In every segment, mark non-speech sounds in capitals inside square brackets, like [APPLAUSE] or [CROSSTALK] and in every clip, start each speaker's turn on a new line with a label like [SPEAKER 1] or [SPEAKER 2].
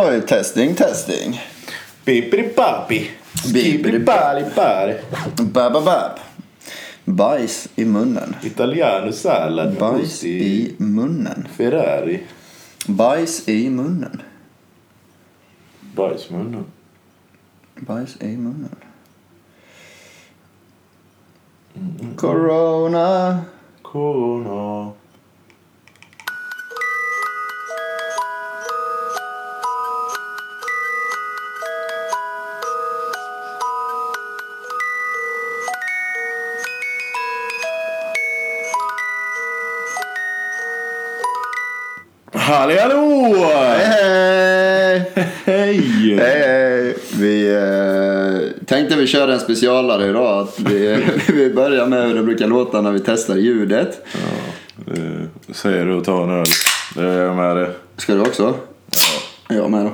[SPEAKER 1] live testing testing.
[SPEAKER 2] Bippidipapi. Skibidipalipari.
[SPEAKER 1] Bababab. Bajs i munnen.
[SPEAKER 2] Italiano sallad.
[SPEAKER 1] Bajs i munnen.
[SPEAKER 2] Ferrari.
[SPEAKER 1] Bajs i munnen.
[SPEAKER 2] Bajsmunnen.
[SPEAKER 1] Bajs i munnen. Corona.
[SPEAKER 2] Corona. Halli hallå!
[SPEAKER 1] Hej, hej!
[SPEAKER 2] Hej!
[SPEAKER 1] Hej, hej! Vi eh, tänkte vi kör en specialare idag. Att vi, [LAUGHS] vi börjar med hur det brukar låta när vi testar ljudet.
[SPEAKER 2] Eh, Säger du och tar en öl. Det är jag med det.
[SPEAKER 1] Ska du också? Ja. Jag med då.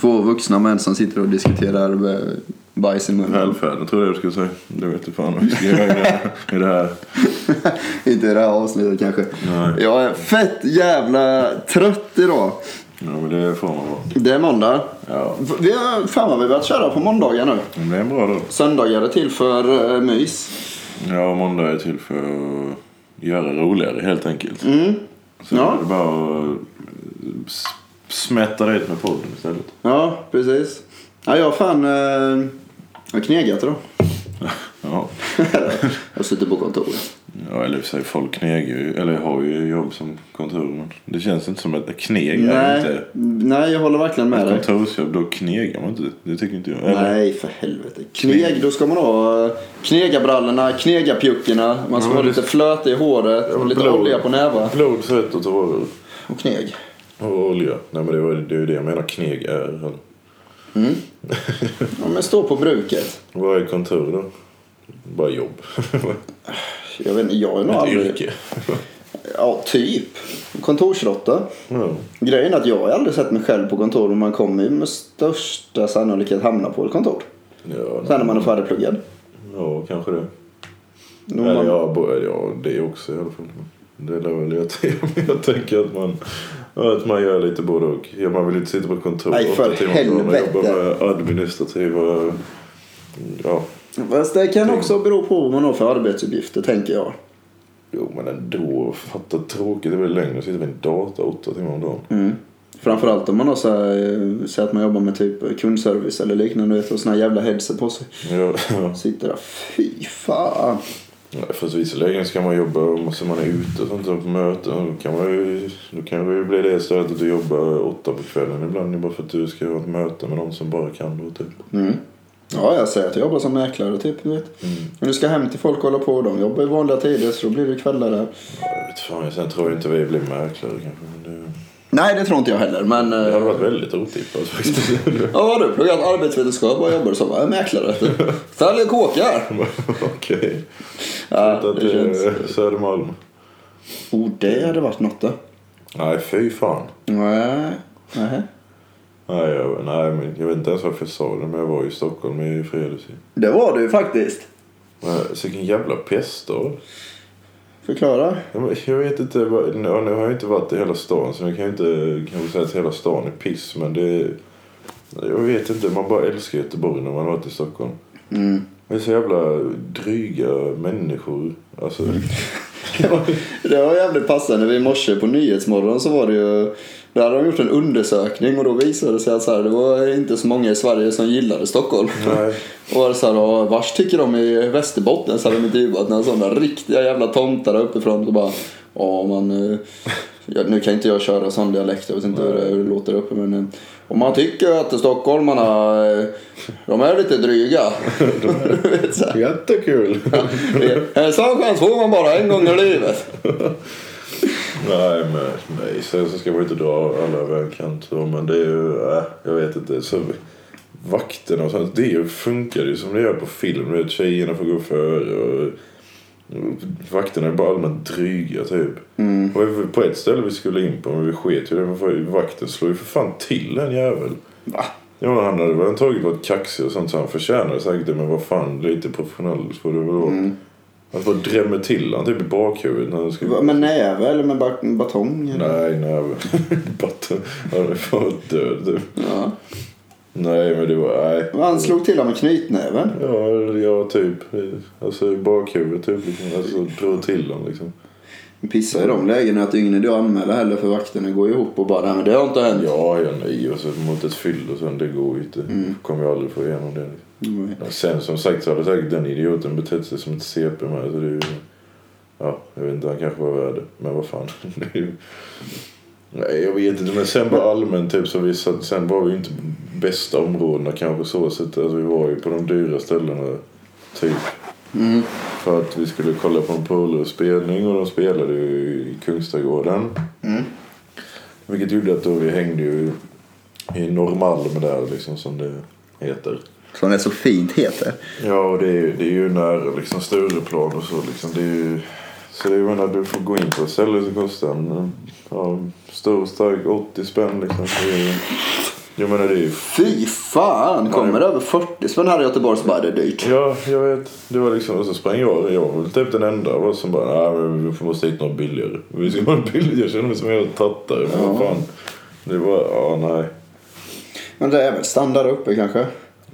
[SPEAKER 1] Två vuxna män som sitter och diskuterar eh, bajs i munnen.
[SPEAKER 2] Välfärden tror jag du skulle säga. Det vet du fan vad vi ska göra i det här- i det här.
[SPEAKER 1] [LAUGHS] Inte i det här avsnittet kanske.
[SPEAKER 2] Nej.
[SPEAKER 1] Jag är fett jävla trött idag.
[SPEAKER 2] Ja men det får man vara.
[SPEAKER 1] Det är måndag.
[SPEAKER 2] Ja.
[SPEAKER 1] F- Vi har, fan vad vi har börjat köra på måndagar nu.
[SPEAKER 2] Men det är en bra dag.
[SPEAKER 1] Söndagar är till för eh, mys.
[SPEAKER 2] Ja och måndag är till för att göra roligare helt enkelt.
[SPEAKER 1] Mm.
[SPEAKER 2] Så
[SPEAKER 1] Ja.
[SPEAKER 2] det är bara att s- smätta dit med podden istället.
[SPEAKER 1] Ja, precis. Ja, jag har fan... Eh, jag har knegat idag.
[SPEAKER 2] Ja.
[SPEAKER 1] jag sitter på kontoret.
[SPEAKER 2] Ja eller i och för sig folk knegar ju. Eller har ju jobb som kontor. Men det känns inte som att kneg är
[SPEAKER 1] Nej,
[SPEAKER 2] inte.
[SPEAKER 1] nej, jag håller verkligen med dig.
[SPEAKER 2] Kontorsjobb då knegar man inte. Det tycker inte jag. Eller?
[SPEAKER 1] Nej, för helvete. Kneg, då ska man ha eh, knegabrallorna, knegarpjuckorna. Man ska
[SPEAKER 2] Ja,
[SPEAKER 1] ha
[SPEAKER 2] det-
[SPEAKER 1] lite flöte i håret och lite
[SPEAKER 2] blod.
[SPEAKER 1] olja på nävarna.
[SPEAKER 2] Blod, svett och tårar.
[SPEAKER 1] Och kneg.
[SPEAKER 2] Och olja. Nej men det, var, det är ju det jag menar kneg är. Eller?
[SPEAKER 1] Ja, men stå på bruket.
[SPEAKER 2] Vad är kontor då? Bara jobb. [LAUGHS]
[SPEAKER 1] Jag vet inte, jag är nog
[SPEAKER 2] Ett
[SPEAKER 1] aldrig...
[SPEAKER 2] yrke. [LAUGHS]
[SPEAKER 1] Ja, typ. Kontorsrotta.
[SPEAKER 2] Ja.
[SPEAKER 1] Grejen är att jag har aldrig sett mig själv på kontor och man kommer ju med största sannolikhet hamna på ett kontor.
[SPEAKER 2] Ja,
[SPEAKER 1] Sen när man är färdigpluggad.
[SPEAKER 2] ja, kanske det.
[SPEAKER 1] Då
[SPEAKER 2] Eller
[SPEAKER 1] man-
[SPEAKER 2] ja, bo- ja, det också i alla fall. Det är väl jag, [LAUGHS] tänker- jag tänker att man, att man gör lite både och. Ja, man vill inte sitta på ett kontor
[SPEAKER 1] Nej,
[SPEAKER 2] åtta
[SPEAKER 1] för
[SPEAKER 2] timmar om dagen och jobba
[SPEAKER 1] helvete.
[SPEAKER 2] med administrativa... Ja,
[SPEAKER 1] Fast det kan också bero på vad man har för arbetsuppgifter, tänker jag.
[SPEAKER 2] jo men ändå. Fatta tråkigt. Det blir längre att sitta vid en dator åtta timmar om dagen.
[SPEAKER 1] Mm. Framförallt om man har så här, eh, säg att man jobbar med typ kundservice eller liknande vet, du, och såna här jävla headset på sig.
[SPEAKER 2] Ja,
[SPEAKER 1] Sitter där, fy fan.
[SPEAKER 2] Nej, För att visserligen ska man jobba och måste man är ute och sånt där på möten. och Då kan, man ju, då kan det ju bli det stödet att du jobbar åtta på kvällen ibland. Det är bara för att du ska ha ett möte med någon som bara kan då typ.
[SPEAKER 1] Mm. Ja, jag säger att jag jobbar som mäklare typ, du vet.
[SPEAKER 2] Mm.
[SPEAKER 1] Men du ska hem till folk och hålla på och de jobbar i vanliga tider så då blir det kvällar där.
[SPEAKER 2] Jag vet fan, sen tror jag inte vi blir mäklare kanske. Men det,
[SPEAKER 1] Nej, det tror inte jag heller, men... eh,
[SPEAKER 2] det hade varit väldigt otippat faktiskt. [LAUGHS]
[SPEAKER 1] Ja, vad har du pluggat arbetsvetenskap och jobbar som? Jag är mäklare. Säljer kåkar.
[SPEAKER 2] Okej.
[SPEAKER 1] Ja,
[SPEAKER 2] Flytta
[SPEAKER 1] det
[SPEAKER 2] till
[SPEAKER 1] känns-
[SPEAKER 2] Södermalm.
[SPEAKER 1] Oh, det hade varit något då.
[SPEAKER 2] Nej, fy fan.
[SPEAKER 1] Nej. Nej.
[SPEAKER 2] Nej, jag, nej, men jag vet inte ens varför jag sa det, men jag var ju i Stockholm i fredags. ju.
[SPEAKER 1] Det var du faktiskt.
[SPEAKER 2] Men, Vilken jävla pestdag.
[SPEAKER 1] Förklara.
[SPEAKER 2] Ja, men Jag vet inte. vad- Nu nu har jag inte varit i hela stan så jag kan ju inte kanske säga att hela stan är piss. Men det är, Jag vet inte. Man bara älskar Göteborg när man har varit i Stockholm.
[SPEAKER 1] Mm.
[SPEAKER 2] Det är så jävla dryga människor. Alltså,
[SPEAKER 1] Det var jävligt passande. I morse på Nyhetsmorgon så var det ju... Där hade de gjort en undersökning och då visade det sig att så här, det var inte så många i Sverige som gillade Stockholm.
[SPEAKER 2] nej.
[SPEAKER 1] [LAUGHS] Och var det så här, "Ja, vars tycker de i Västerbotten? Så hade de intervjuat några sådana riktiga jävla tomtar där uppifrån. Så bara, ja man... eh, ja, Nu kan inte jag köra sån dialekt, jag vet inte hur det, hur det låter där uppe men... eh, Om man tycker att stockholmarna, eh, de är lite dryga. Du vet så här,
[SPEAKER 2] Jättekul!
[SPEAKER 1] det- En sån chans får man bara en gång i livet.
[SPEAKER 2] nej, men nej. Sen så ska man ju inte dra alla över en kant. så, Men det är ju... Äh, jag vet inte. Så, vakterna och sånt. Det är ju- funkar ju som det gör på film. Du vet, Tjejerna får gå före och... Vakterna är bara allmänt dryga typ.
[SPEAKER 1] Mm.
[SPEAKER 2] Och på ett ställe vi skulle in på, men vi sket ju det. för Vakten slog ju för fan till en jävel.
[SPEAKER 1] Va?
[SPEAKER 2] Ja, men han hade väl
[SPEAKER 1] Mm.
[SPEAKER 2] antagligen varit kaxig och sånt så han förtjänade säkert det. Men vad fan, lite professionell får du väl vara. Han bara drämmer till han typ i bakhuvudet när han ska...
[SPEAKER 1] Va, Med näve eller med bat- batong? Eller?
[SPEAKER 2] Nej, nej. Batten. Han är fan död typ.
[SPEAKER 1] Ja.
[SPEAKER 2] Nej, men det var... Nej.
[SPEAKER 1] Han slog till honom med knytnäven.
[SPEAKER 2] Ja, eller ja, typ. Alltså i bakhuvudet typ. Liksom. Alltså drog till honom liksom.
[SPEAKER 1] Pissa i de lägena att det är ingen idé att anmäla heller för vakterna går ihop och bara nej men det har inte hänt.
[SPEAKER 2] Ja, ja, nej. Och så mot ett fyll och sen det går ju inte. Kommer jag aldrig få igenom det. Liksom.
[SPEAKER 1] Mm.
[SPEAKER 2] Ja, Sen som sagt så hade säkert den idioten betett sig som ett CP med. Så det är ju... Ja, jag vet inte. Han kanske var värd det. Men vad fan. [LAUGHS] Det är ju... Nej, jag vet inte. Men sen bara allmänt typ så vi satt, Sen var vi ju inte bästa områdena kanske så sett. Alltså vi var ju på de dyra ställena. Typ.
[SPEAKER 1] Mm.
[SPEAKER 2] För att vi skulle kolla på en polospelning och de spelade ju i Kungsträdgården.
[SPEAKER 1] Mm.
[SPEAKER 2] Vilket gjorde att då vi hängde ju i Norrmalm där liksom som det heter.
[SPEAKER 1] Som det så fint heter.
[SPEAKER 2] Ja, och det är, ju- det är ju nära liksom Stureplan och så liksom. Det är ju, så jag menar, du får gå in på ett ställe som kostar en ja, stor stark 80 spänn liksom. Så det är, ju- jag menar det är ju...
[SPEAKER 1] Fy fan! Kommer det över 40 spänn här i Göteborg så bara det är dyrt.
[SPEAKER 2] Ja, jag vet. Det var liksom, och så sprang jag. Jag var väl typ den enda av oss som bara, nej men vi måste hitta något billigare. Vi ska ha en billigare. Jag känner mig som en jävla tattare. Men vad fan. Det var, ja nej.
[SPEAKER 1] Men det är väl standard uppe kanske?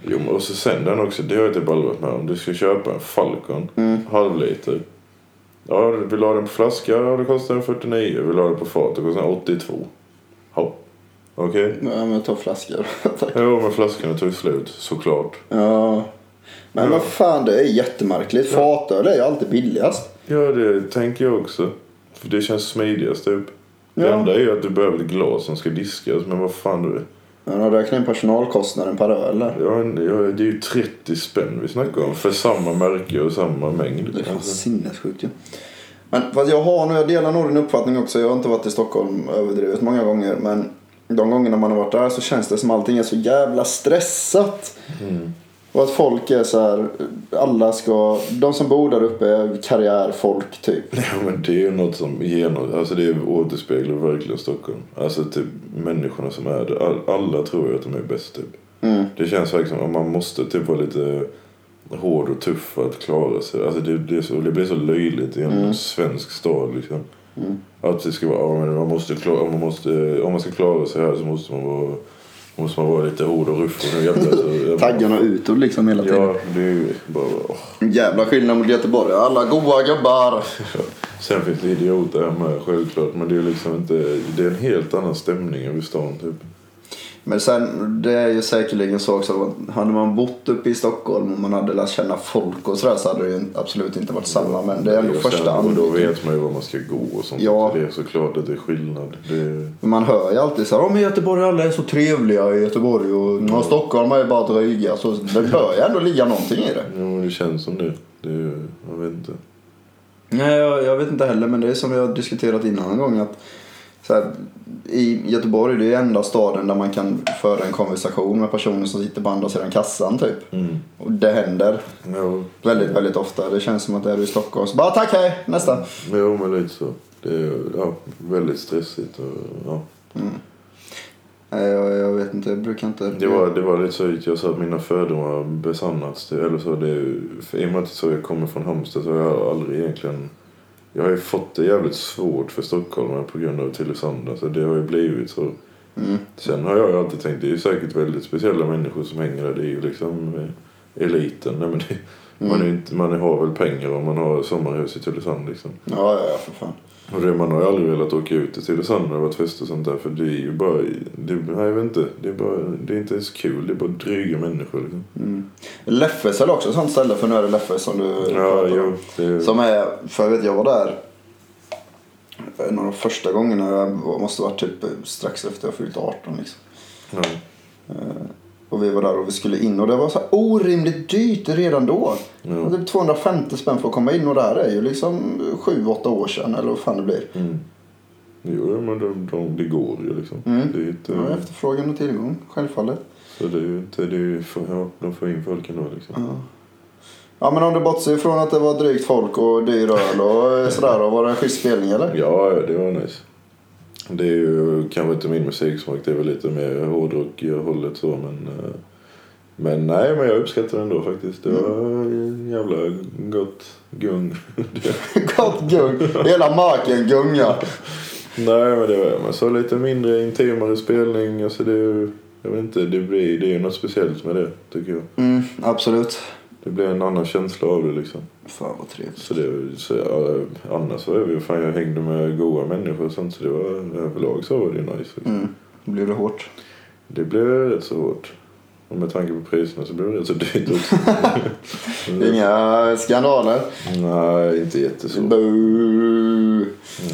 [SPEAKER 2] Jo, men och så sen den också, det har jag typ aldrig varit med om. Du ska köpa en Falcon,
[SPEAKER 1] Mm.
[SPEAKER 2] halvliter. Ja, vill du ha den på flaska? Ja, det kostar den 49. Vill du ha den på fat? Det kostar den 82. Ja. Okej.
[SPEAKER 1] Nej men ta flaskor. Tack.
[SPEAKER 2] Jo, men flaskorna tog slut, såklart.
[SPEAKER 1] [LAUGHS] Ja. Men vad fan det är jättemärkligt. Fatöl är ju alltid billigast.
[SPEAKER 2] Ja, det tänker jag också. För det känns smidigast typ. Det
[SPEAKER 1] Ja.
[SPEAKER 2] enda är ju att du behöver ett glas som ska diskas, men vad fan du...
[SPEAKER 1] Men har räknat in personalkostnaden per öl eller?
[SPEAKER 2] Ja, en- ja, det är ju 30 spänn vi snackar om för samma märke och samma mängd.
[SPEAKER 1] Det är fan
[SPEAKER 2] Alltså.
[SPEAKER 1] sinnessjukt ju. Men fast jag har nog, jag delar nog din uppfattning också. Jag har inte varit i Stockholm överdrivet många gånger. Men de gångerna man har varit där så känns det som allting är så jävla stressat. Och att folk är så här, alla ska, de som bor där uppe är karriärfolk typ.
[SPEAKER 2] Ja, men det är ju något som genom, alltså det återspeglar verkligen Stockholm. Alltså typ människorna som är där. All, alla tror ju att de är bäst typ.
[SPEAKER 1] Mm.
[SPEAKER 2] Det känns verkligen som att man måste typ vara lite hård och tuff för att klara sig. Alltså det, det, är så, det blir så löjligt i en svensk stad liksom. Att det ska vara, ja, men man måste klara, om, man måste, om man ska klara sig här så måste man vara, måste man vara lite hård och ruff. Och nu jävlar,
[SPEAKER 1] [LAUGHS]
[SPEAKER 2] så,
[SPEAKER 1] Taggarna utåt liksom hela tiden.
[SPEAKER 2] Ja, det är ju bara... åh.
[SPEAKER 1] Jävla skillnad mot Göteborg. Alla goa gubbar.
[SPEAKER 2] Sen finns det idioter här med självklart men det är liksom inte, det är en helt annan stämning över stan typ.
[SPEAKER 1] Men sen, det är ju säkerligen så också att hade man bott uppe i Stockholm och man hade lärt känna folk och sådär så hade det ju absolut inte varit samma. Men det är ändå
[SPEAKER 2] Och sen-
[SPEAKER 1] första
[SPEAKER 2] och Då
[SPEAKER 1] anledningen.
[SPEAKER 2] vet man ju var man ska gå och sånt.
[SPEAKER 1] Ja.
[SPEAKER 2] Så Det är såklart att det är skillnad. Det är,
[SPEAKER 1] Man hör ju alltid så här, "Ja, men Göteborg alla är så trevliga i Göteborg och ja, Stockholm är bara dryga. Så [LAUGHS] det bör ju ändå ligga någonting i det.
[SPEAKER 2] ja, men det känns som det. det är, jag vet inte.
[SPEAKER 1] Nej, jag, jag vet inte heller, men det är som vi har diskuterat innan en gång. att så här, I Göteborg, det är enda staden där man kan föra en konversation med personer som sitter på andra sidan kassan typ. Och det händer
[SPEAKER 2] Mm. Ja,
[SPEAKER 1] väldigt, väldigt ofta. Det känns som att det är du i Stockholm så bara tack, hej, nästa.
[SPEAKER 2] ja men lite så. Det är ja, väldigt stressigt. Och, ja.
[SPEAKER 1] Nej, jag, jag vet inte, jag brukar inte...
[SPEAKER 2] det, var, det var lite så att jag sa att mina fördomar har besannats. Det- Eller så, det, är ju- för I och med att så jag kommer från Halmstad så har jag aldrig egentligen... Jag har ju fått det jävligt svårt för stockholmare på grund av Tylösand. Alltså det har ju blivit så.
[SPEAKER 1] Mm.
[SPEAKER 2] Sen har jag ju alltid tänkt, det är ju säkert väldigt speciella människor som hänger där. Det är ju liksom eh, eliten. Nej, men det, man,
[SPEAKER 1] Mm.
[SPEAKER 2] är ju inte, man har väl pengar om man har sommarhus i Tylösand liksom.
[SPEAKER 1] Ja, ja, ja, för fan.
[SPEAKER 2] Och det, man har ju aldrig velat åka ut till Tylösand när det varit fest och sånt där. För det är ju bara... Det, nej, jag vet inte. Det är, bara, det är inte ens kul. Det är bara dryga människor. Liksom.
[SPEAKER 1] Mm. Leffes är också ett sånt ställe, för nu är det Leffes som du
[SPEAKER 2] Ja, jo. Det är,
[SPEAKER 1] Som är, för jag vet jag var där en av de första gångerna, jag var- måste ha varit typ strax efter jag fyllt 18 liksom.
[SPEAKER 2] ja.
[SPEAKER 1] Och vi var där och vi skulle in och det var så här orimligt dyrt redan då.
[SPEAKER 2] Ja.
[SPEAKER 1] Det var Typ 250 spänn för att komma in och där är ju liksom 7-8 år sedan eller vad fan det blir.
[SPEAKER 2] Mm. Jo, men de, de, det går ju liksom.
[SPEAKER 1] Mm.
[SPEAKER 2] Det är ju inte,
[SPEAKER 1] Ja, efterfrågan och tillgång, självfallet.
[SPEAKER 2] Så det är ju inte... Det är ju, för- ja, de får in folk ändå liksom.
[SPEAKER 1] Ja men om du bortser ifrån att det var drygt folk och dyr öl [LAUGHS] och sådär och var det en schysst spelning eller?
[SPEAKER 2] Ja, ja, det var nice. Det är ju kanske inte min musiksmak. Det är väl lite mer hårdrock i hållet så, men... eh, Men nej, men jag uppskattar den ändå faktiskt. Det var jävla gott gung.
[SPEAKER 1] [LAUGHS] Gott gung. Hela marken gungar.
[SPEAKER 2] nej, men det var men så lite mindre intimare spelning. Alltså det är ju, jag vet inte, det blir det är ju något speciellt med det tycker jag.
[SPEAKER 1] Mm, absolut.
[SPEAKER 2] Det blir en annan känsla av det liksom.
[SPEAKER 1] Fan vad trevligt.
[SPEAKER 2] Så det, så, ja, annars var det ju, fan jag hängde med goa människor och sånt så det var överlag så var det ju nice. liksom.
[SPEAKER 1] Mm. Blev det hårt?
[SPEAKER 2] Det blev rätt så hårt. Och med tanke på priserna så blev det rätt så dyrt också.
[SPEAKER 1] Mm. Inga skandaler?
[SPEAKER 2] Nej, inte jätteså.
[SPEAKER 1] Boo.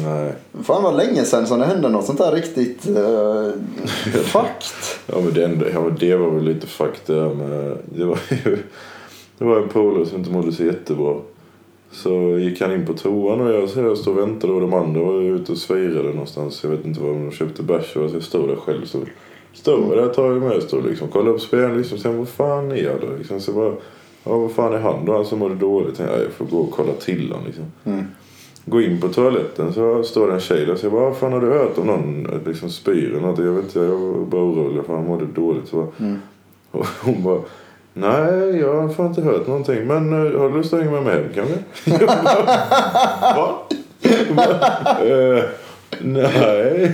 [SPEAKER 2] Nej.
[SPEAKER 1] Fan vad länge sedan som det hände något sånt här riktigt uh, [LAUGHS] fakt.
[SPEAKER 2] Ja men, det enda, ja men det var väl lite fuck det där med... Det var ju... Det var en polare som inte mådde så jättebra. Så gick han in på toan och jag, så jag stod och väntade och de andra var ute och svirade någonstans. Jag vet inte var men de köpte bärs och så jag stod där själv. Så stod där ett tag med och stod liksom kollade på spelaren liksom. Sen vad fan är jag då? Liksom, så bara... Ja vad fan är han då? Han som mådde dåligt. Tänkte, Ja, jag får gå och kolla till honom liksom.
[SPEAKER 1] Mm. [LAUGHS]
[SPEAKER 2] Gå in på toaletten så står det en tjej där. Så jag bara, vad fan har du hört om någon liksom spyr eller något? Jag vet inte, jag var bara orolig för han mådde dåligt. Så bara,
[SPEAKER 1] Mm.
[SPEAKER 2] och hon bara, nej jag har fan inte hört någonting. Men eh, har du lust att hänga med mig hem kanske? [LAUGHS] Jag bara, Va? Hon bara, eh, Nej,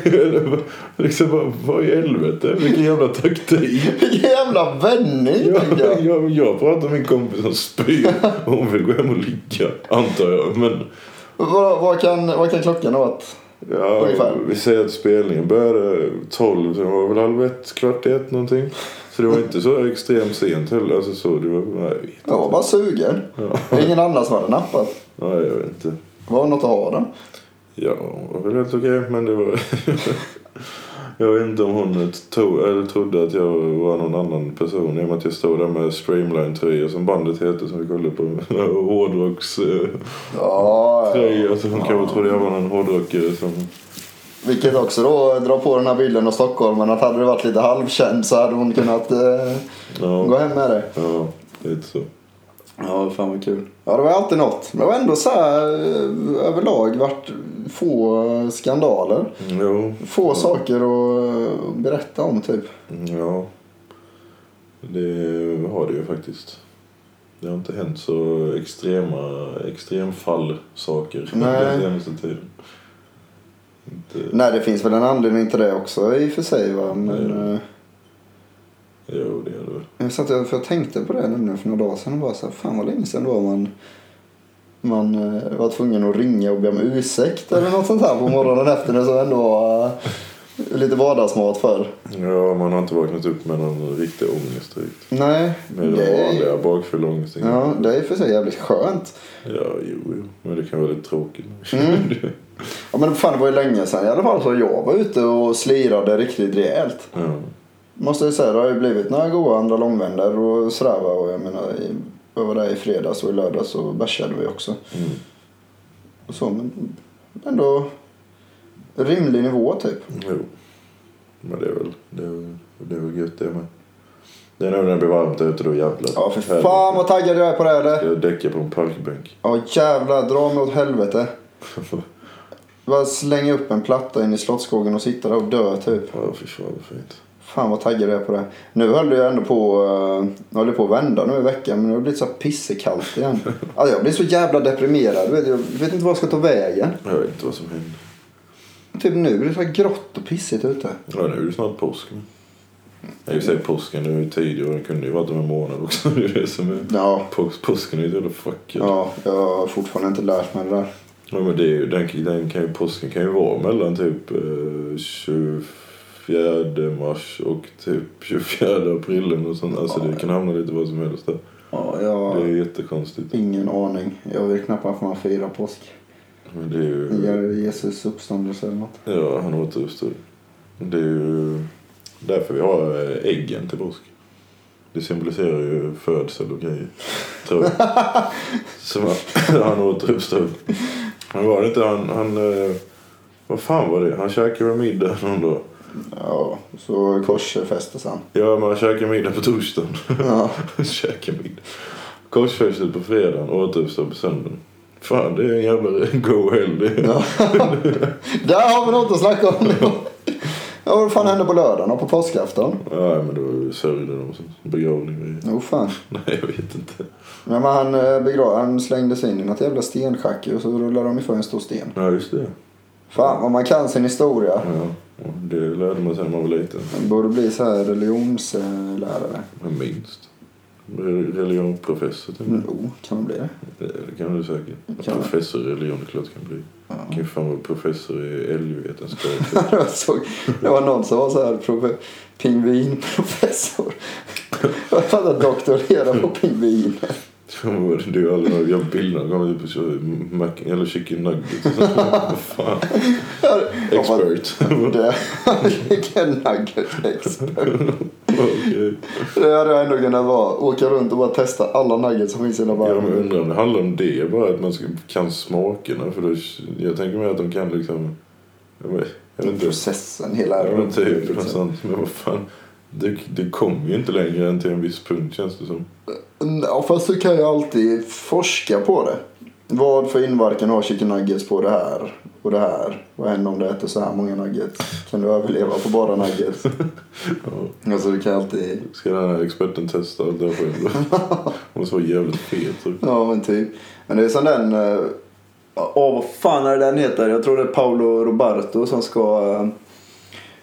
[SPEAKER 2] liksom bara, vad i helvete? Vilken jävla taktik.
[SPEAKER 1] Jävla vändning
[SPEAKER 2] Jag,
[SPEAKER 1] tänker jag.
[SPEAKER 2] jag, jag pratar med en kompis som spyr och hon vill gå hem och ligga, antar jag. Men
[SPEAKER 1] Vad, vad, kan, vad kan klockan ha varit?
[SPEAKER 2] Ja,
[SPEAKER 1] Ungefär.
[SPEAKER 2] vi säger att spelningen började 12, så det var väl halv ett, kvart i ett någonting. Så det var inte så extremt sent heller. Alltså så, det var, nej, jag vet-
[SPEAKER 1] Jag var bara sugen. Det är ingen annan som hade nappat.
[SPEAKER 2] nej, jag vet inte.
[SPEAKER 1] Var det något att ha den?
[SPEAKER 2] Ja, det var väl helt okej, men det var... [LAUGHS] jag vet inte om hon tog, eller trodde att jag var någon annan person i och med att jag stod där med Streamline-tröja som bandet heter som vi kollade på. [LAUGHS] Hårdrocks-tröja.
[SPEAKER 1] Ja, ja.
[SPEAKER 2] Så hon kanske trodde jag var någon hårdrockare som...
[SPEAKER 1] vilket också då drar på den här bilden av Stockholm. Men att hade du varit lite halvkänd så hade hon kunnat eh, gå
[SPEAKER 2] Ja,
[SPEAKER 1] hem med dig.
[SPEAKER 2] ja lite så.
[SPEAKER 1] Ja, fan vad kul. Ja, det var alltid något. Men det var ändå så här eh, överlag vart få skandaler.
[SPEAKER 2] Jo,
[SPEAKER 1] Få saker att eh, berätta om typ.
[SPEAKER 2] Ja, det har det ju faktiskt. Det har inte hänt så extrema extremfall-saker
[SPEAKER 1] Nej.
[SPEAKER 2] den senaste tiden. Inte,
[SPEAKER 1] Nej, det finns väl en anledning till det också i och för sig va. Men,
[SPEAKER 2] Nej.
[SPEAKER 1] eh,
[SPEAKER 2] jo, det är det väl.
[SPEAKER 1] Jag, satt, för jag tänkte på det nämligen för några dagar sedan och bara så här, fan vad länge sedan då man, man eh, var tvungen att ringa och be om ursäkt eller något sånt här på morgonen efter det som ändå var eh, lite vardagsmat förr.
[SPEAKER 2] Ja, man har inte vaknat upp med någon riktig ångest direkt.
[SPEAKER 1] Nej,
[SPEAKER 2] Med
[SPEAKER 1] det
[SPEAKER 2] den
[SPEAKER 1] är,
[SPEAKER 2] vanliga bakfulla ångesten.
[SPEAKER 1] ja, det är i och för sig jävligt skönt.
[SPEAKER 2] ja, jo, jo. Men det kan vara lite tråkigt.
[SPEAKER 1] Mm. Ja men fan det var ju länge sedan i alla fall så jag var ute och slirade riktigt rejält.
[SPEAKER 2] [LAUGHS] ja.
[SPEAKER 1] Måste jag säga, det har ju blivit några goda andra långvändor och sådär va. Och jag menar, i, jag var där i fredags och i lördags och bärsade vi också.
[SPEAKER 2] Mm.
[SPEAKER 1] och så, men ändå rimlig nivå typ.
[SPEAKER 2] Jo. Men det är väl, det är, väl- det är väl gött det med. Det är nog när det blir varmt ute då jävlar.
[SPEAKER 1] Ja, för fan vad taggad jag är på det här. eller?
[SPEAKER 2] Jag däckar på en parkbänk.
[SPEAKER 1] Ja, jävlar, dra mig åt [LAUGHS] helvete. Bara slänga upp en platta in i Slottsskogen och sitta där och dö typ.
[SPEAKER 2] Ja, fy fan vad fint.
[SPEAKER 1] Fan vad taggad jag är på det. här. Nu höll det ju ändå på, uh, höll det på att vända nu i veckan men nu har det blivit så här pissekallt [LAUGHS] igen. Alltså jag blir så jävla deprimerad. Vet, du, jag vet inte vad jag ska ta vägen.
[SPEAKER 2] Jag vet inte vad som händer.
[SPEAKER 1] Typ nu blir det så här grått och pissigt ute.
[SPEAKER 2] Ja, nu är det snart påsk. nu. Jag säger påsken, nu är ju tidig och den kunde ju varit om en månad också. [LAUGHS] Det är det som är...
[SPEAKER 1] Ja,
[SPEAKER 2] Pås, påsken är ju ett jävla fuck. Ja.
[SPEAKER 1] ja, jag har fortfarande inte lärt mig det där.
[SPEAKER 2] Ja, men det är ju, den, den kan ju, påsken kan ju vara mellan typ eh, 24 mars och typ 24 april eller något sånt. Alltså det kan hamna lite vad som helst där.
[SPEAKER 1] Ja, jag...
[SPEAKER 2] Det är jättekonstigt.
[SPEAKER 1] Ingen aning. Jag vet knappt varför man firar påsk.
[SPEAKER 2] Men det är ju...
[SPEAKER 1] Gör Jesus uppståndelse eller något.
[SPEAKER 2] Ja, han återuppstod. Det är ju därför vi har eh, äggen till påsk. Det symboliserar ju födsel och grejer. Tror jag. Som [LAUGHS] han- han återuppstod. Men var det inte han... han eh, vad fan var det? Han käkade väl middag någon dag?
[SPEAKER 1] Ja, så korsfästes han.
[SPEAKER 2] Ja, men han käkade middag på torsdagen. [LAUGHS]
[SPEAKER 1] Ja.
[SPEAKER 2] käkade middag. Korsfästet på fredagen och återuppstod på söndagen. Fan, det är en [LAUGHS] jävla go hell det.
[SPEAKER 1] ja. Där har vi något att snacka om. Ja, vad fan hände på lördagen och på påskafton?
[SPEAKER 2] Nej, men det var ju sörjden och sånt. Begravning och grejer.
[SPEAKER 1] Jo fan.
[SPEAKER 2] Nej, jag vet inte.
[SPEAKER 1] Men vad han, eh, begra- han slängde sig in i något jävla stenschacke och så rullade de ifrån en stor sten.
[SPEAKER 2] Ja, just det.
[SPEAKER 1] Fan vad man kan sin historia.
[SPEAKER 2] Ja, och det lärde man sig när man var liten.
[SPEAKER 1] Man borde bli så här religionslärare.
[SPEAKER 2] Men minst. Religionsprofessor, typ.
[SPEAKER 1] Jo, Mm, oh, kan man bli det?
[SPEAKER 2] Det kan du säkert.
[SPEAKER 1] Kan man?
[SPEAKER 2] Professor i religion, det är klart du kan bli.
[SPEAKER 1] Ja.
[SPEAKER 2] Du kan ju fan vara professor i älgvetenskap. [LAUGHS]
[SPEAKER 1] Jag såg, det var någon som var så här profe- pingvinprofessor. Jag fattar doktorera på pingvin.
[SPEAKER 2] Fan, vad Du har aldrig någon- jag har bilder någon gång på så- mac- eller chicken nuggets. och sånt. Vad fan. Expert. [LAUGHS]
[SPEAKER 1] Det, vilken nugget expert.
[SPEAKER 2] Okej.
[SPEAKER 1] Det hade jag ändå kunnat vara. Åka runt och bara testa alla nuggets som finns i hela
[SPEAKER 2] Ja, men Jag
[SPEAKER 1] världen.
[SPEAKER 2] undrar om det handlar om det bara att man ska, kan smakerna. För då, jag tänker mig att de kan liksom... Jag vet, jag vet inte.
[SPEAKER 1] Processen, hela
[SPEAKER 2] Ja, men typ
[SPEAKER 1] liksom.
[SPEAKER 2] något sånt. Men vad fan. Du, du kommer ju inte längre än till en viss punkt känns det som.
[SPEAKER 1] Ja, fast du kan ju alltid forska på det. Vad för inverkan har chicken nuggets på det här och det här? Vad händer om du äter så här många nuggets? Kan du överleva på bara nuggets? Alltså du kan alltid...
[SPEAKER 2] Ska den här experten testa allt det här själv? Hon måste vara jävligt fet. typ.
[SPEAKER 1] Ja men typ. Men det är som den... eh, Åh vad fan är det den heter? Jag tror det är Paolo Roberto som ska... eh,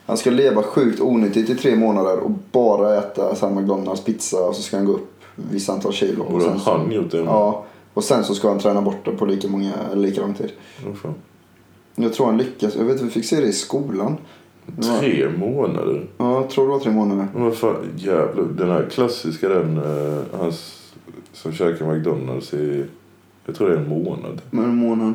[SPEAKER 1] Han ska leva sjukt onyttigt i tre månader och bara äta så här McDonalds pizza och så ska han gå upp vissa antal kilo. Och
[SPEAKER 2] Borde
[SPEAKER 1] sen så,
[SPEAKER 2] han gjort det?
[SPEAKER 1] ja, och sen så ska han träna bort det på lika många, eller lika lång tid.
[SPEAKER 2] Vad fan.
[SPEAKER 1] Jag tror han lyckas. Jag vet vi fick se det i skolan. Det var-
[SPEAKER 2] Tre månader?
[SPEAKER 1] Ja, jag tror det var tre månader.
[SPEAKER 2] Men vad fan, jävlar. Den här klassiska den, eh, han s- som käkar McDonalds i, jag tror det är en månad.
[SPEAKER 1] Men en månad.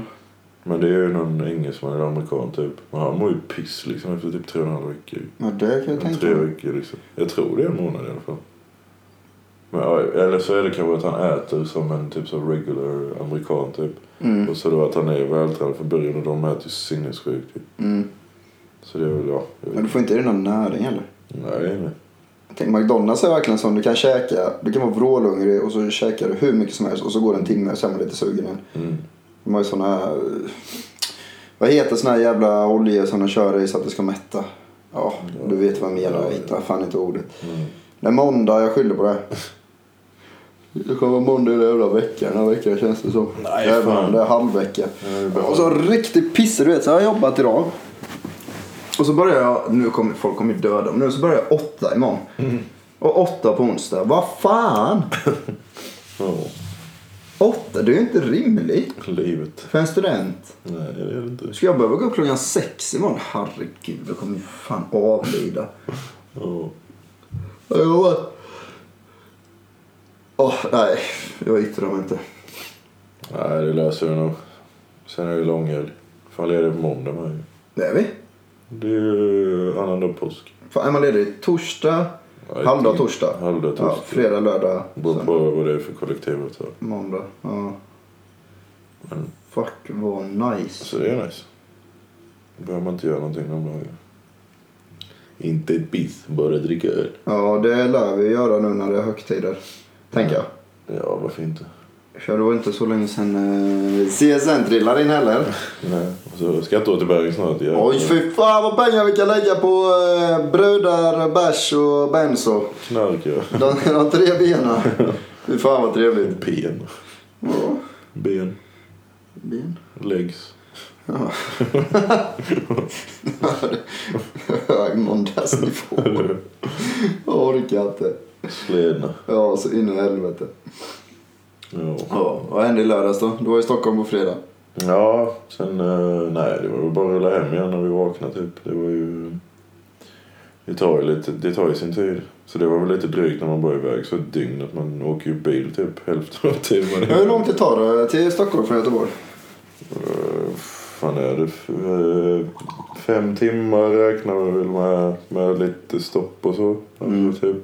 [SPEAKER 2] Men det är ju någon engelsman eller amerikan typ. Men han mår ju piss liksom efter typ tre och en halv vecka.
[SPEAKER 1] Ja, det kan jag
[SPEAKER 2] En
[SPEAKER 1] tänka
[SPEAKER 2] tre
[SPEAKER 1] mig.
[SPEAKER 2] veckor liksom. Jag tror det är en månad i alla fall. Men, ja, eller så är det kanske att han äter som en typ så regular amerikan typ.
[SPEAKER 1] Mm,
[SPEAKER 2] Och så då att han är vältränad från början och de äter ju sinnessjukt. typ.
[SPEAKER 1] mm.
[SPEAKER 2] Så det är väl ja. jag vet
[SPEAKER 1] Men du får inte i dig någon näring eller?
[SPEAKER 2] inte. Nej, nej.
[SPEAKER 1] Tänk, McDonalds är verkligen sån. Du kan käka, du kan vara vrålhungrig och så käkar du hur mycket som helst och så går det en timme och sen blir du lite sugen igen.
[SPEAKER 2] Mm.
[SPEAKER 1] De har ju såna här... eh, Vad heter såna här jävla oljor som de kör i så att det ska mätta? Ja, du vet vad jag menar. Jag hittar fan inte ordet.
[SPEAKER 2] Mm.
[SPEAKER 1] Det är måndag, jag skyller på det. Det kommer vara måndag i den jävla veckan. Den här veckan känns det som.
[SPEAKER 2] Nej,
[SPEAKER 1] Även
[SPEAKER 2] fan.
[SPEAKER 1] om det är halvvecka.
[SPEAKER 2] Ja, det är bra.
[SPEAKER 1] och så en riktig pisse, du vet. Så jag har jobbat idag. Och så börjar jag, nu kommer folk kommer ju döda mig nu, så börjar jag åtta imorgon.
[SPEAKER 2] Mm.
[SPEAKER 1] Och åtta på onsdag. Vad fan!
[SPEAKER 2] Ja.
[SPEAKER 1] Åtta, det är ju inte rimligt
[SPEAKER 2] Livet.
[SPEAKER 1] för en student.
[SPEAKER 2] Nej, det är det inte.
[SPEAKER 1] Ska jag behöva gå upp klockan sex imorgon? Herregud, jag kommer ju fan avlida.
[SPEAKER 2] Ja.
[SPEAKER 1] Jag bara... Åh, nej. Jag yttrar mig inte.
[SPEAKER 2] Nej, det löser vi nog. Sen är det långhelg. Fan ledig på måndag med. ju.
[SPEAKER 1] Det är vi.
[SPEAKER 2] Det är ju annandag påsk.
[SPEAKER 1] Fan, är man ledig torsdag,
[SPEAKER 2] Ja,
[SPEAKER 1] halvdag
[SPEAKER 2] det-
[SPEAKER 1] torsdag?
[SPEAKER 2] Halvdag
[SPEAKER 1] Ja,
[SPEAKER 2] torsdag.
[SPEAKER 1] fredag, lördag,
[SPEAKER 2] Beror
[SPEAKER 1] söndag,
[SPEAKER 2] på vad det är för kollektivavtal.
[SPEAKER 1] måndag. Ja.
[SPEAKER 2] Mm.
[SPEAKER 1] Fuck vad nice.
[SPEAKER 2] Så det är nice. Då behöver man inte göra någonting de dagarna. Inte ett piss, bara dricka öl.
[SPEAKER 1] Ja, det lär vi göra nu när det är högtider. Tänker jag.
[SPEAKER 2] Mm. Ja, varför inte?
[SPEAKER 1] För det var inte så länge sedan eh, CSN trillade in heller.
[SPEAKER 2] Nej. alltså, Och så skatteåterbäring snart. jävlar.
[SPEAKER 1] Oj, fy fan vad pengar vi kan lägga på eh, brudar, bärs och benzo.
[SPEAKER 2] Knark, ja.
[SPEAKER 1] De, de tre benen. Fy fan vad trevligt.
[SPEAKER 2] Ben.
[SPEAKER 1] Ja,
[SPEAKER 2] Ben.
[SPEAKER 1] [LAUGHS] ben.
[SPEAKER 2] Legs.
[SPEAKER 1] Ja. Hög måndagsnivå. Jag orkar inte.
[SPEAKER 2] Sledna.
[SPEAKER 1] Ja, så in i helvete.
[SPEAKER 2] Ja.
[SPEAKER 1] Ja, vad hände i lördags då? Du var i Stockholm på fredag.
[SPEAKER 2] Ja, sen... eh, Nej, det var väl bara att rulla hem igen när vi vaknade typ. Det var ju... Det tar ju, lite, det tar ju sin tid. Så det var väl lite drygt när man var iväg så ett dygn att man åker ju bil typ hälften av timmen.
[SPEAKER 1] Hur långt det tar det till Stockholm från Göteborg?
[SPEAKER 2] Eh, fan är det? F- eh, Fem timmar räknar vi väl med, med lite stopp och så.
[SPEAKER 1] Mm.
[SPEAKER 2] Alltså, typ.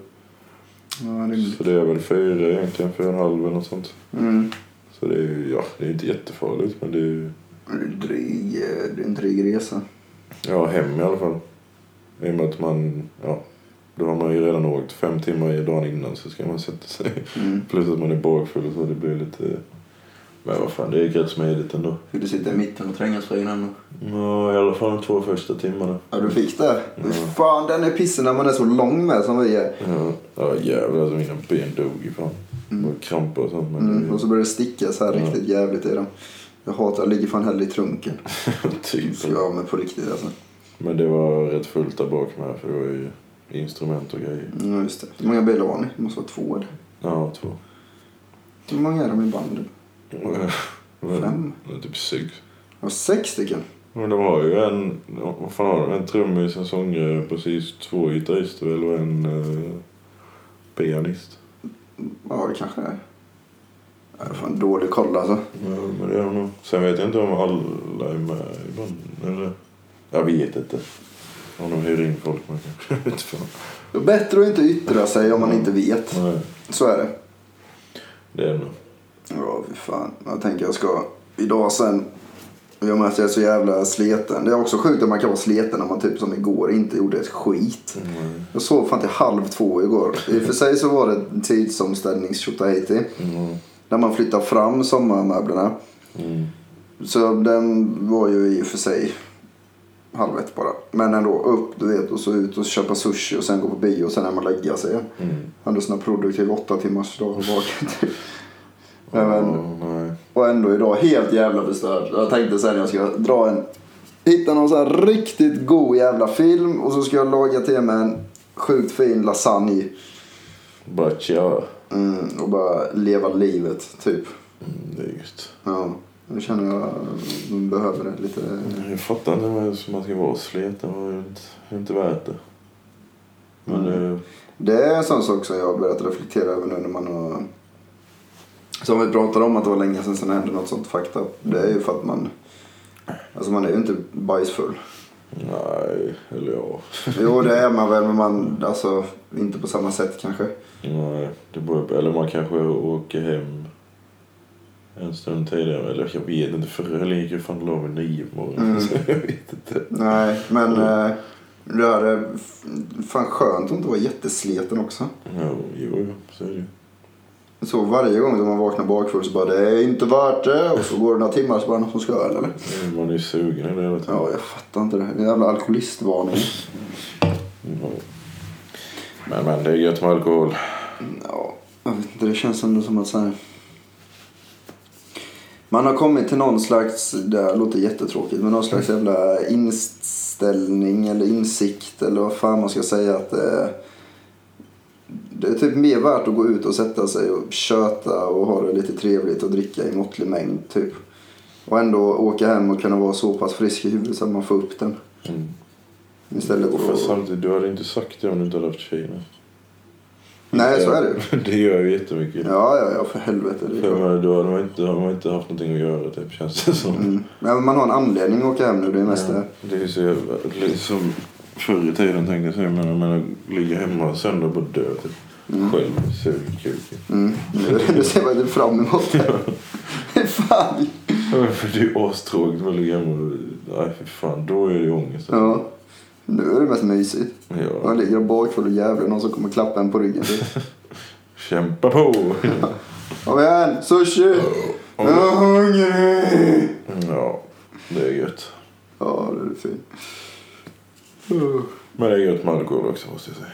[SPEAKER 1] Ja, rimligt.
[SPEAKER 2] Så det är väl fyra egentligen, fyra och en halv eller något sånt.
[SPEAKER 1] Mm.
[SPEAKER 2] Så det är ju, ja, det är inte jättefarligt men det är ju...
[SPEAKER 1] Det är en dryg, eh, det är en dryg resa.
[SPEAKER 2] Ja, hem i alla fall. I och med att man, ja, då har man ju redan åkt fem timmar i dagen innan så ska man sätta sig. [LAUGHS]
[SPEAKER 1] Mm.
[SPEAKER 2] Plus att man är bakfull och så det blir lite, Men vad fan, det gick rätt smidigt ändå.
[SPEAKER 1] Fick du sitta i mitten och trängas för innan?
[SPEAKER 2] Ja, i alla fall de två första timmarna.
[SPEAKER 1] Ja, du fick det? Fan, den är pissig när man är så lång med som vi är.
[SPEAKER 2] Ja, ja jävlar alltså mina ben dog ju fan. Det var kramper och sånt. Men
[SPEAKER 1] Mm,
[SPEAKER 2] det
[SPEAKER 1] och så börjar det sticka så här riktigt jävligt i dem. Jag hatar, jag ligger fan hellre i trunken.
[SPEAKER 2] [LAUGHS] typ.
[SPEAKER 1] Så ja, men på riktigt alltså.
[SPEAKER 2] Men det var rätt fullt där bak med för det var ju instrument och grejer.
[SPEAKER 1] Ja, Mm, just det. Hur många bilar var ni? Det måste vara två. eller?
[SPEAKER 2] Ja, två. [LAUGHS]
[SPEAKER 1] Hur många är de i bandet?
[SPEAKER 2] Men-
[SPEAKER 1] Fem?
[SPEAKER 2] men Typ sex.
[SPEAKER 1] Ja, sex stycken.
[SPEAKER 2] Men de har ju en, vad fan har de? En trummis, en sångare, precis två gitarrister väl och en eh, pianist.
[SPEAKER 1] Ja, det kanske är. Jag har fan dålig koll alltså.
[SPEAKER 2] Ja, men det är de nog. Sen vet jag inte om alla är med i bandet eller? Jag vet inte. Om de hyr in folk man kanske. [LAUGHS] Jag vet fan.
[SPEAKER 1] Det är Bättre att inte yttra sig om man inte vet.
[SPEAKER 2] Nej,
[SPEAKER 1] Så är det.
[SPEAKER 2] det är det nog.
[SPEAKER 1] Ja, fy fan. Jag tänker jag ska idag sen. I och med att jag är så jävla sleten. Det är också sjukt att man kan vara sleten när man typ som igår inte gjorde ett skit.
[SPEAKER 2] Mm.
[SPEAKER 1] Jag sov fan till halv två igår. I och för sig så var det en tidsomställnings Haiti.
[SPEAKER 2] Mm.
[SPEAKER 1] När man flyttar fram sommarmöblerna.
[SPEAKER 2] Mm.
[SPEAKER 1] Så den var ju i och för sig halv ett bara. Men ändå upp du vet och så ut och köpa sushi och sen gå på bio och sen hem och lägga sig. igen.
[SPEAKER 2] Mm.
[SPEAKER 1] Hade såna produktiv åtta timmars dag bak. Nej, men-
[SPEAKER 2] Ja, nej.
[SPEAKER 1] och ändå idag helt jävla förstörd. Jag tänkte sen jag ska dra en, hitta någon sån här riktigt god jävla film och så ska jag laga till mig en sjukt fin lasagne.
[SPEAKER 2] Bara tja.
[SPEAKER 1] Mm, och bara leva livet typ.
[SPEAKER 2] Mm, det är just.
[SPEAKER 1] Ja, nu känner jag mm, behöver det lite.
[SPEAKER 2] Jag fattar inte hur man ska vara sleten. Det var ju inte, inte värt det.
[SPEAKER 1] Mm.
[SPEAKER 2] Men eh,
[SPEAKER 1] Det är en sån sak som jag har börjat reflektera över nu när man har... Som vi pratade om att det var länge sedan som det hände något sånt fakta. Det är ju för att man... Alltså man är ju inte bajsfull.
[SPEAKER 2] nej. Eller ja.
[SPEAKER 1] Jo det är man väl men man... Alltså inte på samma sätt kanske.
[SPEAKER 2] Nej, det beror på. Eller man kanske åker hem en stund tidigare. Eller jag vet inte. Förr eller gick ju fan lov vid nio på morgonen.
[SPEAKER 1] Mm.
[SPEAKER 2] [LAUGHS] Så jag vet inte.
[SPEAKER 1] Nej men... eh, Det här är f- fan skönt att inte vara jättesleten också.
[SPEAKER 2] Ja, jo, jo, så är det ju.
[SPEAKER 1] Så varje gång som man vaknar bakfull så bara det är inte värt det. Och så går det några timmar så bara någon som ska ha öl eller?
[SPEAKER 2] Man är ju sugen hela tiden.
[SPEAKER 1] Ja jag fattar inte det. Det är en jävla alkoholistvarning.
[SPEAKER 2] Ja. Men, men det är gött med alkohol.
[SPEAKER 1] Ja, jag vet inte. Det känns ändå som att så här... Man har kommit till någon slags, det här låter jättetråkigt, men någon slags jävla inställning eller insikt eller vad fan man ska säga att eh, det är typ mer värt att gå ut och sätta sig och köta och ha det lite trevligt och dricka i måttlig mängd typ. Och ändå åka hem och kunna vara så pass frisk i huvudet så att man får upp den.
[SPEAKER 2] Mm.
[SPEAKER 1] Istället
[SPEAKER 2] Och fast
[SPEAKER 1] för att...
[SPEAKER 2] samtidigt, du hade inte sagt det om du inte hade haft tjejerna.
[SPEAKER 1] Nej, så är det ju.
[SPEAKER 2] [LAUGHS] Det gör ju jättemycket.
[SPEAKER 1] Ja, ja, ja, för helvete. Det är klart.
[SPEAKER 2] För man, då har man inte, har man inte haft någonting att göra typ, känns det som.
[SPEAKER 1] Mm. Ja, men man har en anledning att åka hem nu, det är mest det.
[SPEAKER 2] Det är ju så jävla... det är Som förr i tiden tänkte jag säga, men jag menar, ligga hemma en söndag och bara dö typ. Själv, suger kuken.
[SPEAKER 1] Mm. Nu, nu ser man ju fram emot det. fan.
[SPEAKER 2] Ja, För det är ju astråkigt att ligga hemma och... Nej, för fan, då är det ju ångest.
[SPEAKER 1] Ja. Nu är det mest mysigt. Man
[SPEAKER 2] Ja.
[SPEAKER 1] ligger bakfull och jävlar någon som kommer klappa en på ryggen. [LAUGHS]
[SPEAKER 2] Kämpa på!
[SPEAKER 1] Kom igen, sushi! Jag är hungrig!
[SPEAKER 2] Ja, det är gött.
[SPEAKER 1] Ja, det är fint.
[SPEAKER 2] Men det är gött med alkohol också måste jag säga.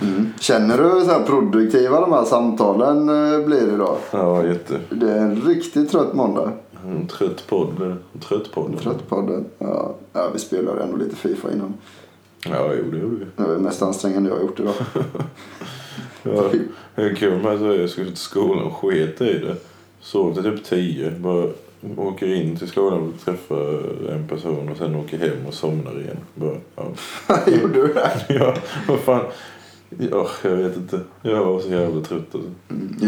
[SPEAKER 1] Mm. Känner du hur så här produktiva de här samtalen eh, blir idag?
[SPEAKER 2] Ja, jätte.
[SPEAKER 1] Det är en riktigt trött måndag.
[SPEAKER 2] En trött podd. blir det. En trött podd.
[SPEAKER 1] Trött podden. Ja, ja, vi spelade ändå lite Fifa innan.
[SPEAKER 2] Ja, jo, det gjorde vi.
[SPEAKER 1] Det var det mest ansträngande jag har gjort idag.
[SPEAKER 2] Ja, det är kul med att jag skulle till skolan och sket i det. Sov till typ tio. Bara åker in till skolan och träffar en person och sen åker hem och somnar igen. Bara, ja. [LAUGHS]
[SPEAKER 1] Gjorde du det?
[SPEAKER 2] ja, vad fan. Ja, jag vet inte. Jag var så jävla trött alltså.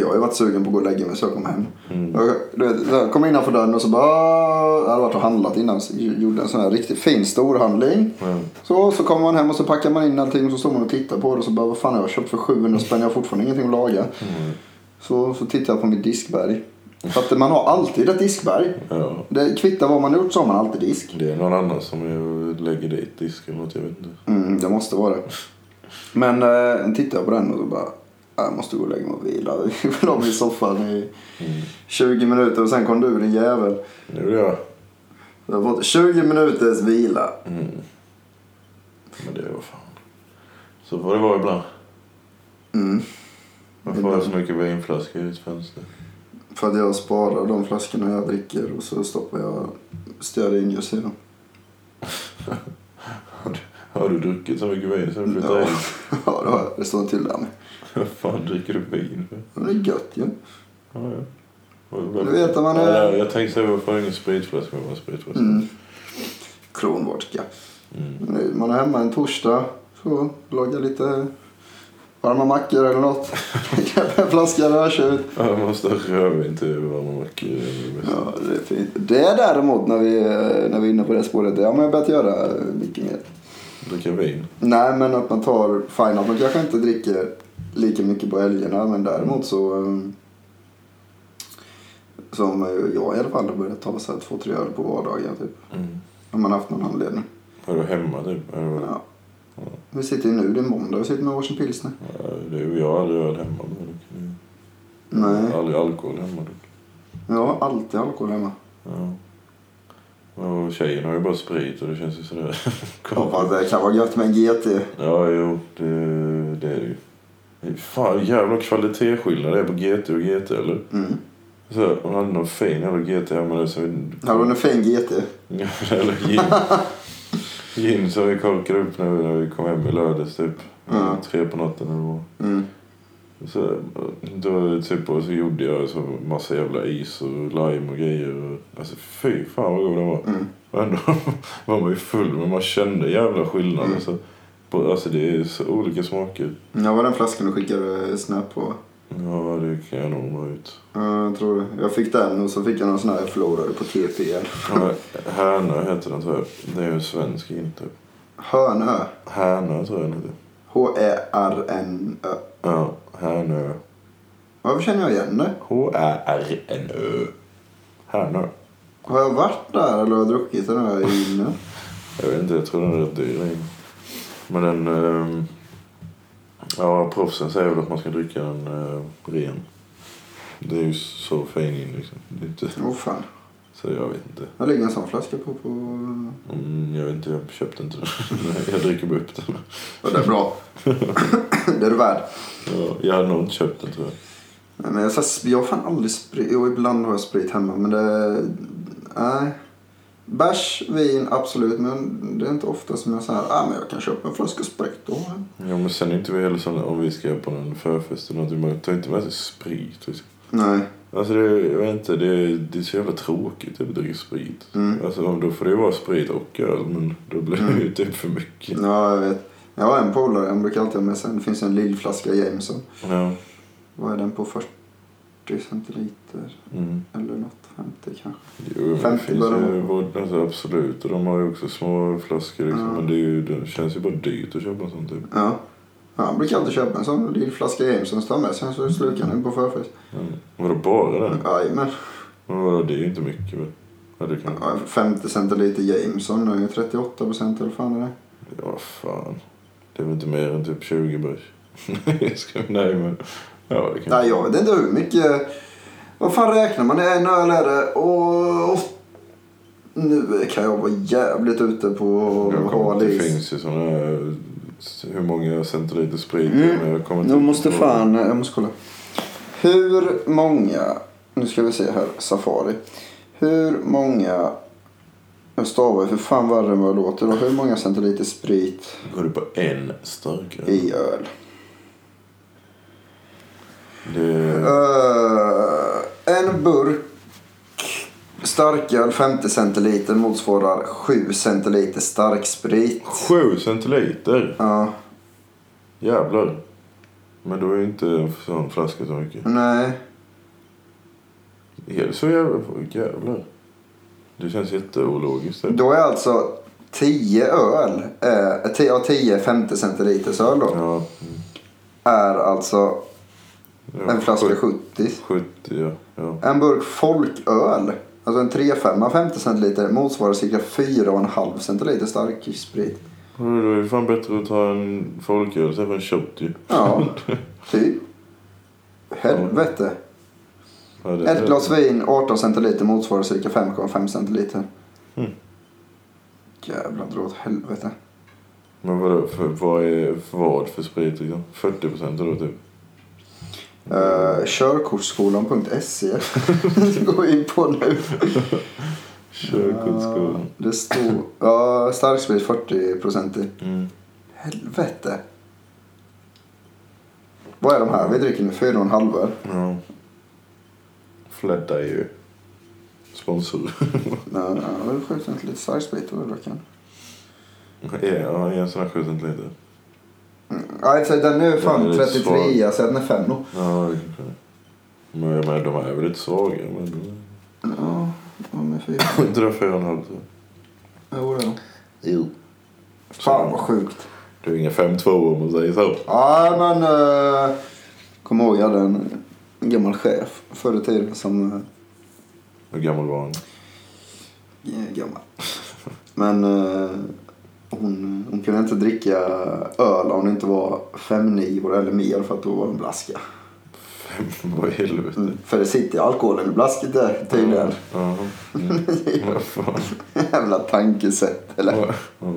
[SPEAKER 1] Jag har ju varit sugen på att gå och lägga mig så jag kom hem.
[SPEAKER 2] Mm.
[SPEAKER 1] Jag, du vet, så här, kom innanför dörren och så bara... "Ah", Jag hade varit och handlat innan. Så gjorde en sån här riktigt fin storhandling.
[SPEAKER 2] Ja.
[SPEAKER 1] Så, så kommer man hem och så packar man in allting och så står man och tittar på det och så bara vad fan har jag köpt för 700 spänn? Jag har fortfarande ingenting att laga.
[SPEAKER 2] mm,
[SPEAKER 1] Så, så tittar jag på mitt diskberg. För att man har alltid ett diskberg.
[SPEAKER 2] ja.
[SPEAKER 1] Det kvittar vad man har gjort så har man alltid disk.
[SPEAKER 2] Det är någon annan som jag lägger dit disken åt, jag vet inte.
[SPEAKER 1] Mm, det måste vara det. Men eh, tittar jag på den och så bara jag måste gå och lägga mig och vila. [LAUGHS] Vi vill ha mig i soffan i 20 minuter och sen kom du din jävel.
[SPEAKER 2] Mm. Nu är jag.
[SPEAKER 1] Jag har fått 20 minuters vila.
[SPEAKER 2] Mm. Men det var fan. Så får det vara ibland.
[SPEAKER 1] Mm.
[SPEAKER 2] Varför har jag så mycket vinflaskor i ett fönster?
[SPEAKER 1] För att jag sparar de flaskorna jag dricker och så stoppar jag stearinljus i dem.
[SPEAKER 2] Har du druckit så mycket vin sen du flyttade
[SPEAKER 1] Ja,
[SPEAKER 2] in?
[SPEAKER 1] [LAUGHS] ja det, har jag. det står en till där med.
[SPEAKER 2] Vad fan dricker du vin för?
[SPEAKER 1] Men det är gött ju.
[SPEAKER 2] Ja, ja.
[SPEAKER 1] Du vet att man är-
[SPEAKER 2] Ja, jag tänkte säga varför har jag ingen spritflaska med bara spritflaska?
[SPEAKER 1] Mm. Kronvodka.
[SPEAKER 2] Mm.
[SPEAKER 1] Nu, Man är hemma en torsdag. Så lagar lite varma mackor eller något. [LAUGHS] Knäpper en flaska rödtjut.
[SPEAKER 2] Ja, man måste ha rödvin till varma mackor. det är det bästa.
[SPEAKER 1] Ja, det är fint. Det är däremot när vi, eh, när vi är inne på det spåret. Det har man ju börjat göra eh, mycket mer.
[SPEAKER 2] Dricka vin.
[SPEAKER 1] Nej, men att man tar... Fine, att man kanske inte dricker lika mycket på helgerna. Men däremot så... eh, Som eh, jag i alla fall har börjat ta så här två, tre öl på vardagen. Typ.
[SPEAKER 2] Mm.
[SPEAKER 1] Om man haft någon anledning.
[SPEAKER 2] Är du hemma typ? Är du...
[SPEAKER 1] Ja. Vi sitter ju nu, det är måndag, vi sitter med varsin pilsner.
[SPEAKER 2] Ja, du, jag har aldrig öl hemma. då. Mm.
[SPEAKER 1] Nej,
[SPEAKER 2] Aldrig alkohol hemma. då.
[SPEAKER 1] jag har alltid alkohol hemma.
[SPEAKER 2] Ja. Och tjejen har ju bara sprit och det känns ju sådär.
[SPEAKER 1] Hoppas det kan vara gött med en GT.
[SPEAKER 2] Ja, jo, det, det är det ju. Fan, jävla kvalitetsskillnad det är på GT och GT, eller?
[SPEAKER 1] Mm.
[SPEAKER 2] Så, hon hade någon fin jävla GT hemma där som vi... [LAUGHS]
[SPEAKER 1] Här var en fin GT.
[SPEAKER 2] Ja, eller gin. gin som vi korkade upp när vi, när vi kom hem i lördags, typ.
[SPEAKER 1] Ja.
[SPEAKER 2] Tre på natten eller vad.
[SPEAKER 1] Mm.
[SPEAKER 2] Så, då, typ, och så gjorde jag så massa jävla is och lime och grejer. Och, alltså fy fan vad god den var.
[SPEAKER 1] Mm.
[SPEAKER 2] Och ändå [LAUGHS] var man ju full men man kände jävla skillnad.
[SPEAKER 1] Mm.
[SPEAKER 2] Alltså, på, alltså det är så olika smaker.
[SPEAKER 1] Jag var den flaskan du skickade snap på.
[SPEAKER 2] Ja det kan jag nog nå ut.
[SPEAKER 1] Ja, jag tror det. Jag fick den och så fick jag någon sån här jag förlorade på TP.
[SPEAKER 2] Ja, Härnö heter den tror jag. Det är ju en svensk gin typ.
[SPEAKER 1] Hörnö.
[SPEAKER 2] Härnö tror jag den heter.
[SPEAKER 1] E H-E-R-N-Ö.
[SPEAKER 2] Ja, Härnö.
[SPEAKER 1] Varför känner jag igen det?
[SPEAKER 2] H-Ä-R-N-Ö. Härnö.
[SPEAKER 1] Har jag varit där eller har jag druckit den här inne?
[SPEAKER 2] Jag vet inte, jag tror den är rätt dyr. den. Men den... ehm, ja, proffsen säger väl att man ska dricka den eh, ren. Det är ju så fin gin liksom. Det är inte,
[SPEAKER 1] Åh fan.
[SPEAKER 2] så jag vet inte.
[SPEAKER 1] Här ligger en sån flaska på. på...
[SPEAKER 2] Mm, jag vet inte, jag köpte inte den. [LAUGHS] Nej, jag dricker bara upp den.
[SPEAKER 1] Ja, det är bra. det är du värd.
[SPEAKER 2] Ja, jag hade nog inte köpt den tror jag.
[SPEAKER 1] Nej, men jag, så här, jag har fan aldrig sprit. Jo, ibland har jag sprit hemma. Men det... Nej. Bärs, vin, absolut. Men det är inte ofta som jag säger ah, men jag kan köpa en flaska sprit. Då.
[SPEAKER 2] Ja, men sen är inte vi heller såna, om vi ska på någon förfest eller någonting, man tar inte med sig sprit. Liksom.
[SPEAKER 1] Nej.
[SPEAKER 2] Alltså det, är- jag vet inte, det, är- det är så jävla tråkigt att dricka sprit.
[SPEAKER 1] Mm.
[SPEAKER 2] Alltså om- då får det ju vara sprit och öl, men då blir det ju typ för mycket.
[SPEAKER 1] Ja, jag vet. Jag har en polare, han brukar alltid ha med sig en. Det finns en lillflaska Jameson.
[SPEAKER 2] Ja.
[SPEAKER 1] Vad är den på? 40 centiliter?
[SPEAKER 2] Mm.
[SPEAKER 1] Eller något, 50 kanske.
[SPEAKER 2] Jo, men det
[SPEAKER 1] 50
[SPEAKER 2] finns
[SPEAKER 1] bör de
[SPEAKER 2] ju vård- alltså, absolut. Och de har ju också små flaskor liksom.
[SPEAKER 1] Ja.
[SPEAKER 2] Men det, är ju, det känns ju bara dyrt att köpa en sån typ.
[SPEAKER 1] Ja. ja. Han brukar alltid köpa en sån lillflaska Jameson och ta med sig. Så slukar han den på förfest.
[SPEAKER 2] Mm. Vadå bara den?
[SPEAKER 1] Jajamän.
[SPEAKER 2] Men vadå, det är ju inte mycket väl? Ja, det kan...
[SPEAKER 1] Ja, 50 centiliter Jameson nu. 38 procent eller vad fan är det?
[SPEAKER 2] Ja, fan. Det är väl inte mer än typ 20 bärs? Nej, [LAUGHS] jag skojar. Nej, men... Ja, det kan...
[SPEAKER 1] Nej, jag vet inte hur mycket... Vad fan räknar man? Det är en öl är det. Och... Nu kan jag vara jävligt ute på
[SPEAKER 2] Jag kommer,
[SPEAKER 1] hal
[SPEAKER 2] det
[SPEAKER 1] is.
[SPEAKER 2] finns ju såna här... Hur många centiliter sprit det är,
[SPEAKER 1] Mm.
[SPEAKER 2] men jag kommer inte...
[SPEAKER 1] Jag måste
[SPEAKER 2] på-
[SPEAKER 1] fan... eh, Jag måste kolla. Hur många... Nu ska vi se här. Safari. Hur många... Jag stavar ju för fan värre än vad jag låter. Och hur många centiliter sprit
[SPEAKER 2] Går du på en starkare?
[SPEAKER 1] i öl?
[SPEAKER 2] Det...
[SPEAKER 1] Eh, en burk starköl 50 centiliter motsvarar 7 centiliter starksprit.
[SPEAKER 2] Sju centiliter!
[SPEAKER 1] Ja,
[SPEAKER 2] Jävlar. Men då är ju inte en sån flaska så mycket.
[SPEAKER 1] nej.
[SPEAKER 2] Är det så jävla... Jävlar. Det känns jätteologiskt. Typ.
[SPEAKER 1] Då är alltså 10 öl, eh, 10 av 10 50 centiliters öl då,
[SPEAKER 2] Ja. mm.
[SPEAKER 1] är alltså
[SPEAKER 2] ja.
[SPEAKER 1] en flaska
[SPEAKER 2] Sjut-
[SPEAKER 1] 70.
[SPEAKER 2] 70, ja. ja.
[SPEAKER 1] En burk folköl, alltså en 3-5 50 centiliter motsvarar cirka 4,5 centiliter starksprit.
[SPEAKER 2] typ. [LAUGHS] Då är det fan bättre att ta en folköl istället för en shot ju.
[SPEAKER 1] Ja, typ. Helvete.
[SPEAKER 2] Ja, det-
[SPEAKER 1] Ett glas vin, 18 centiliter motsvarar cirka 5,5 centiliter.
[SPEAKER 2] Mm.
[SPEAKER 1] Jävlar, dra åt helvete.
[SPEAKER 2] Men vadå, för, vad är vad för sprit liksom? 40 procent då typ?
[SPEAKER 1] Uh,
[SPEAKER 2] [LAUGHS]
[SPEAKER 1] körkortsskolan.se Gå in på nu.
[SPEAKER 2] Körkortsskolan.
[SPEAKER 1] Ja, Det stod... Ja, starksprit 40% i.
[SPEAKER 2] Mm.
[SPEAKER 1] Helvete. Vad är de här? Vi dricker nu 4,5 öl.
[SPEAKER 2] Ja. Fledda är ju sponsor. [LAUGHS]
[SPEAKER 1] Nej, nej, vi skjuter inte lite starksprit och röken.
[SPEAKER 2] Ja, ja, en sån här 7 centiliter.
[SPEAKER 1] Ja, alltså, den är
[SPEAKER 2] Den är
[SPEAKER 1] fan
[SPEAKER 2] lite
[SPEAKER 1] 33 så den är 5 nog.
[SPEAKER 2] Ja, det kanske det är. Men jag menar, de är väl lite svaga. Men
[SPEAKER 1] Ja, de är 4.
[SPEAKER 2] de inte det fyra och en halv till.
[SPEAKER 1] Jo, det är de.
[SPEAKER 2] Jo.
[SPEAKER 1] Fan vad sjukt.
[SPEAKER 2] Det är inga 5-2 om man säger så.
[SPEAKER 1] Ja, men... Uh, kom ihåg, jag hade en gammal chef förr i tiden som... eh,
[SPEAKER 2] Hur gammal var han?
[SPEAKER 1] eh, gammal. Men eh, hon, hon kunde inte dricka öl om det inte var fem nivor eller mer för att då var hon blaska.
[SPEAKER 2] Fem, vad i helvete.
[SPEAKER 1] Mm. För det sitter ju alkoholen i blasket där tydligen.
[SPEAKER 2] Jaha. Mm. Vad fan.
[SPEAKER 1] [LAUGHS] Jävla tankesätt eller?
[SPEAKER 2] Ja. Ja.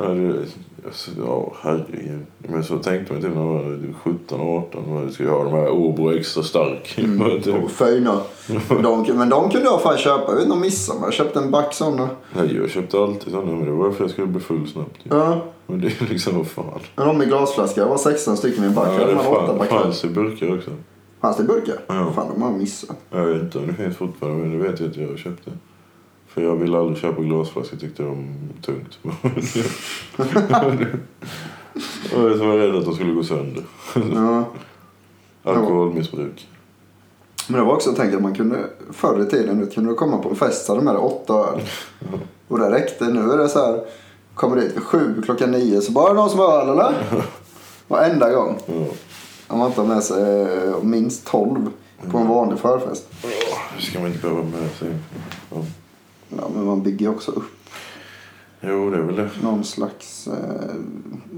[SPEAKER 2] Ja, det- alltså, Ja, herregud. Men så tänkte man typ när man var 17, 18. Man skulle ha de här Åbro extra stark.
[SPEAKER 1] Mm.
[SPEAKER 2] [LAUGHS] Typ.
[SPEAKER 1] Och Föjna. De, men de kunde jag fan köpa. Jag vet inte om missade mig. Jag köpte en back sådana.
[SPEAKER 2] Nej, jag köpte alltid sådana. Men det var för att jag skulle bli full snabbt. ju.
[SPEAKER 1] Ja,
[SPEAKER 2] Men det är liksom, vad fan.
[SPEAKER 1] men de i glasflaska. Jag var 16 stycken i en back.
[SPEAKER 2] Ja,
[SPEAKER 1] Ja,
[SPEAKER 2] det
[SPEAKER 1] man åtta
[SPEAKER 2] fan-
[SPEAKER 1] backar.
[SPEAKER 2] fanns i burkar också.
[SPEAKER 1] Fanns det i burkar?
[SPEAKER 2] Ja.
[SPEAKER 1] Fan, de har jag
[SPEAKER 2] [LAUGHS]
[SPEAKER 1] missat.
[SPEAKER 2] Jag vet inte om det finns fortfarande, men det vet jag att jag köpte. För jag ville aldrig köpa glasflaskor, tyckte de var tungt. [LAUGHS] och jag var rädd att de skulle gå sönder.
[SPEAKER 1] Ja.
[SPEAKER 2] Alkoholmissbruk.
[SPEAKER 1] Men det var också tänkt att man kunde, förr i tiden, du kunde komma på en fest så hade de med dig åtta öl. Och det räckte. Nu är det så här, kommer dit vid sju, klockan nio, så bara "Är det någon som har öl
[SPEAKER 2] [LAUGHS]
[SPEAKER 1] eller? Varenda gång.
[SPEAKER 2] Ja.
[SPEAKER 1] Om man inte har med sig eh, minst tolv på en vanlig förfest.
[SPEAKER 2] Det ska man inte behöva med sig. Ja.
[SPEAKER 1] Ja, men man bygger ju också upp
[SPEAKER 2] Jo, det är väl det.
[SPEAKER 1] någon slags eh,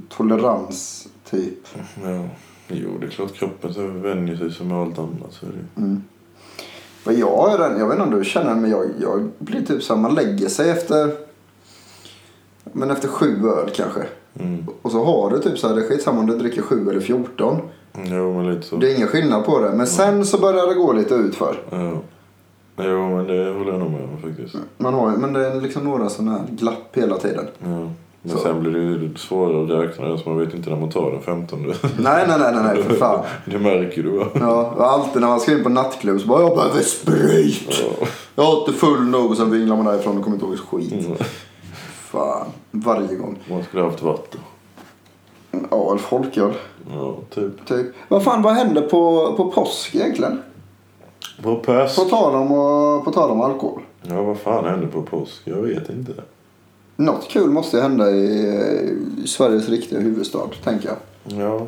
[SPEAKER 1] tolerans, typ.
[SPEAKER 2] Mm. Ja. Jo, det är klart kroppen så vänjer sig som med allt annat. Så är det. ju.
[SPEAKER 1] Men jag, är den, jag vet inte om du känner det, men jag, jag blir typ så här, man lägger sig efter, men efter sju öl kanske.
[SPEAKER 2] Mm.
[SPEAKER 1] Och så har du typ så här, det är skitsamma om du dricker 7 eller 14.
[SPEAKER 2] Jo, men lite så.
[SPEAKER 1] Det är ingen skillnad på det. Men sen så börjar det gå lite utför.
[SPEAKER 2] Ja. Jo, men det håller jag nog med om faktiskt.
[SPEAKER 1] Man har, ju- men det är liksom några sådana här glapp hela tiden.
[SPEAKER 2] Ja. Men
[SPEAKER 1] Så.
[SPEAKER 2] sen blir det ju svårare att räkna den så man vet inte när man tar den 15. [LAUGHS]
[SPEAKER 1] Nej, nej, nej, nej, nej för fan.
[SPEAKER 2] Det märker du va?
[SPEAKER 1] Ja, och alltid när man ska in på nattklubb så bara jag behöver sprit.
[SPEAKER 2] Ja.
[SPEAKER 1] Jag är inte full nog. Sen vinglar man därifrån och kommer inte ihåg ett skit.
[SPEAKER 2] Mm.
[SPEAKER 1] Fan, varje gång.
[SPEAKER 2] Man skulle haft vatten.
[SPEAKER 1] Ja, eller folköl.
[SPEAKER 2] Ja, typ.
[SPEAKER 1] Typ. Vad fan, vad hände på, på påsk egentligen?
[SPEAKER 2] På påsk?
[SPEAKER 1] På tal om, och- på tal om alkohol.
[SPEAKER 2] Ja, vad fan hände på påsk? Jag vet inte.
[SPEAKER 1] Något kul måste ju hända i, eh, i Sveriges riktiga huvudstad, tänker jag.
[SPEAKER 2] Ja.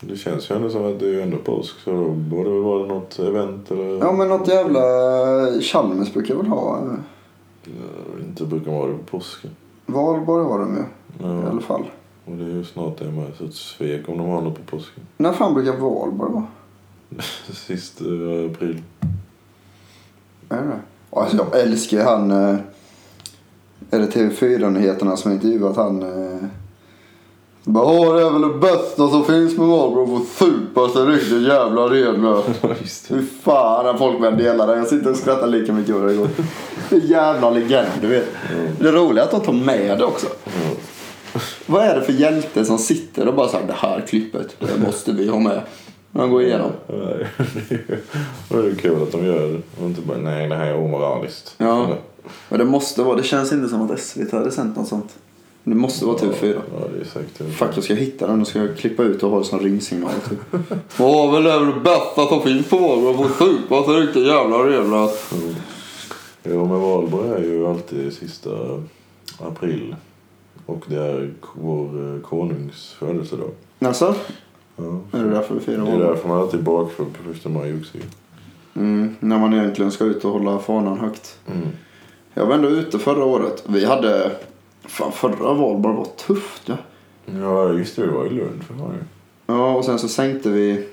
[SPEAKER 2] Det känns ju ändå som att det är ändå påsk så då borde det vara något event eller...
[SPEAKER 1] Ja men något jävla eh, Chalmers brukar väl ha. eh,
[SPEAKER 2] Ja, Inte brukar vara det på påsken.
[SPEAKER 1] Valborg har de ju i alla
[SPEAKER 2] Ja.
[SPEAKER 1] fall.
[SPEAKER 2] Och det är ju snart det med så ett svek om de har något på påsken.
[SPEAKER 1] När fan brukar Valborg vara?
[SPEAKER 2] Sist eh, april.
[SPEAKER 1] Är det Alltså jag älskar ju han... eh, Är det TV4-nyheterna som intervjuat han... eh, Bara "Ja, det är väl det bästa som finns med Valborg. Att få supa sig riktigt jävla redlöst.
[SPEAKER 2] Ja, just det.
[SPEAKER 1] Fy fan när folk väl delar det. Jag sitter och skrattar lika mycket varje gång. Det är jävla legend, du vet. Det roliga är att de tar med det också.
[SPEAKER 2] Ja.
[SPEAKER 1] Vad är det för hjälte som sitter och bara såhär, det här klippet, det måste vi ha med. Man går igenom.
[SPEAKER 2] Nej, [LAUGHS] det är ju- det är ju kul att de gör det. Och inte bara nej, det här är omoraliskt.
[SPEAKER 1] Ja. Men det måste vara, det känns inte som att SVT hade sänt något sånt. Det måste vara TV4.
[SPEAKER 2] Ja, det är säkert det.
[SPEAKER 1] Fuck, jag ska hitta den och ska jag klippa ut och ha det som ringsignal typ. [LAUGHS] Åh, men det är väl det bästa som finns på morgonen. Får supa så riktigt jävla redlöst.
[SPEAKER 2] Jo, men valborg är ju alltid sista april. Och det är k- vår eh, konungs födelsedag.
[SPEAKER 1] Jaså?
[SPEAKER 2] Ja.
[SPEAKER 1] Är det därför vi
[SPEAKER 2] Det
[SPEAKER 1] firar
[SPEAKER 2] är
[SPEAKER 1] valborg?
[SPEAKER 2] därför man alltid är bakfull på första maj också.
[SPEAKER 1] Mm, när man egentligen ska ut och hålla fanan högt.
[SPEAKER 2] Mm.
[SPEAKER 1] Jag var ändå ute förra året. Vi hade... Fan, förra valborg var tufft ja.
[SPEAKER 2] Ja, just det. Vi var i Lund för fan.
[SPEAKER 1] Ja, och sen så sänkte vi...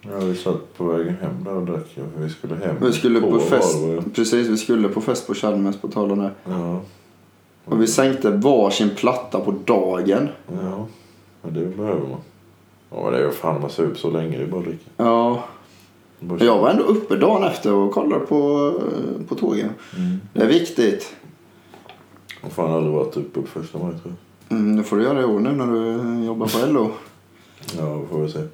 [SPEAKER 2] Ja, vi satt på vägen hem där och drack ja, för vi skulle hem.
[SPEAKER 1] Vi skulle på fest,
[SPEAKER 2] Valborg.
[SPEAKER 1] precis vi skulle på fest på Chalmers på tal om det.
[SPEAKER 2] Ja,
[SPEAKER 1] Och vi sänkte varsin platta på dagen.
[SPEAKER 2] ja. Men det behöver man. Ja, men det är ju fan man ser upp så länge. Det är bara att dricka.
[SPEAKER 1] Ja,
[SPEAKER 2] Det är bara att
[SPEAKER 1] men jag var ändå uppe dagen efter och kollade på, eh, på tågen.
[SPEAKER 2] Mm.
[SPEAKER 1] Det är viktigt.
[SPEAKER 2] Jag har fan aldrig varit uppe på första maj tror
[SPEAKER 1] Mm, det får du göra i år nu när du eh, jobbar på LO.
[SPEAKER 2] jag. Ja, vi får vi se. Det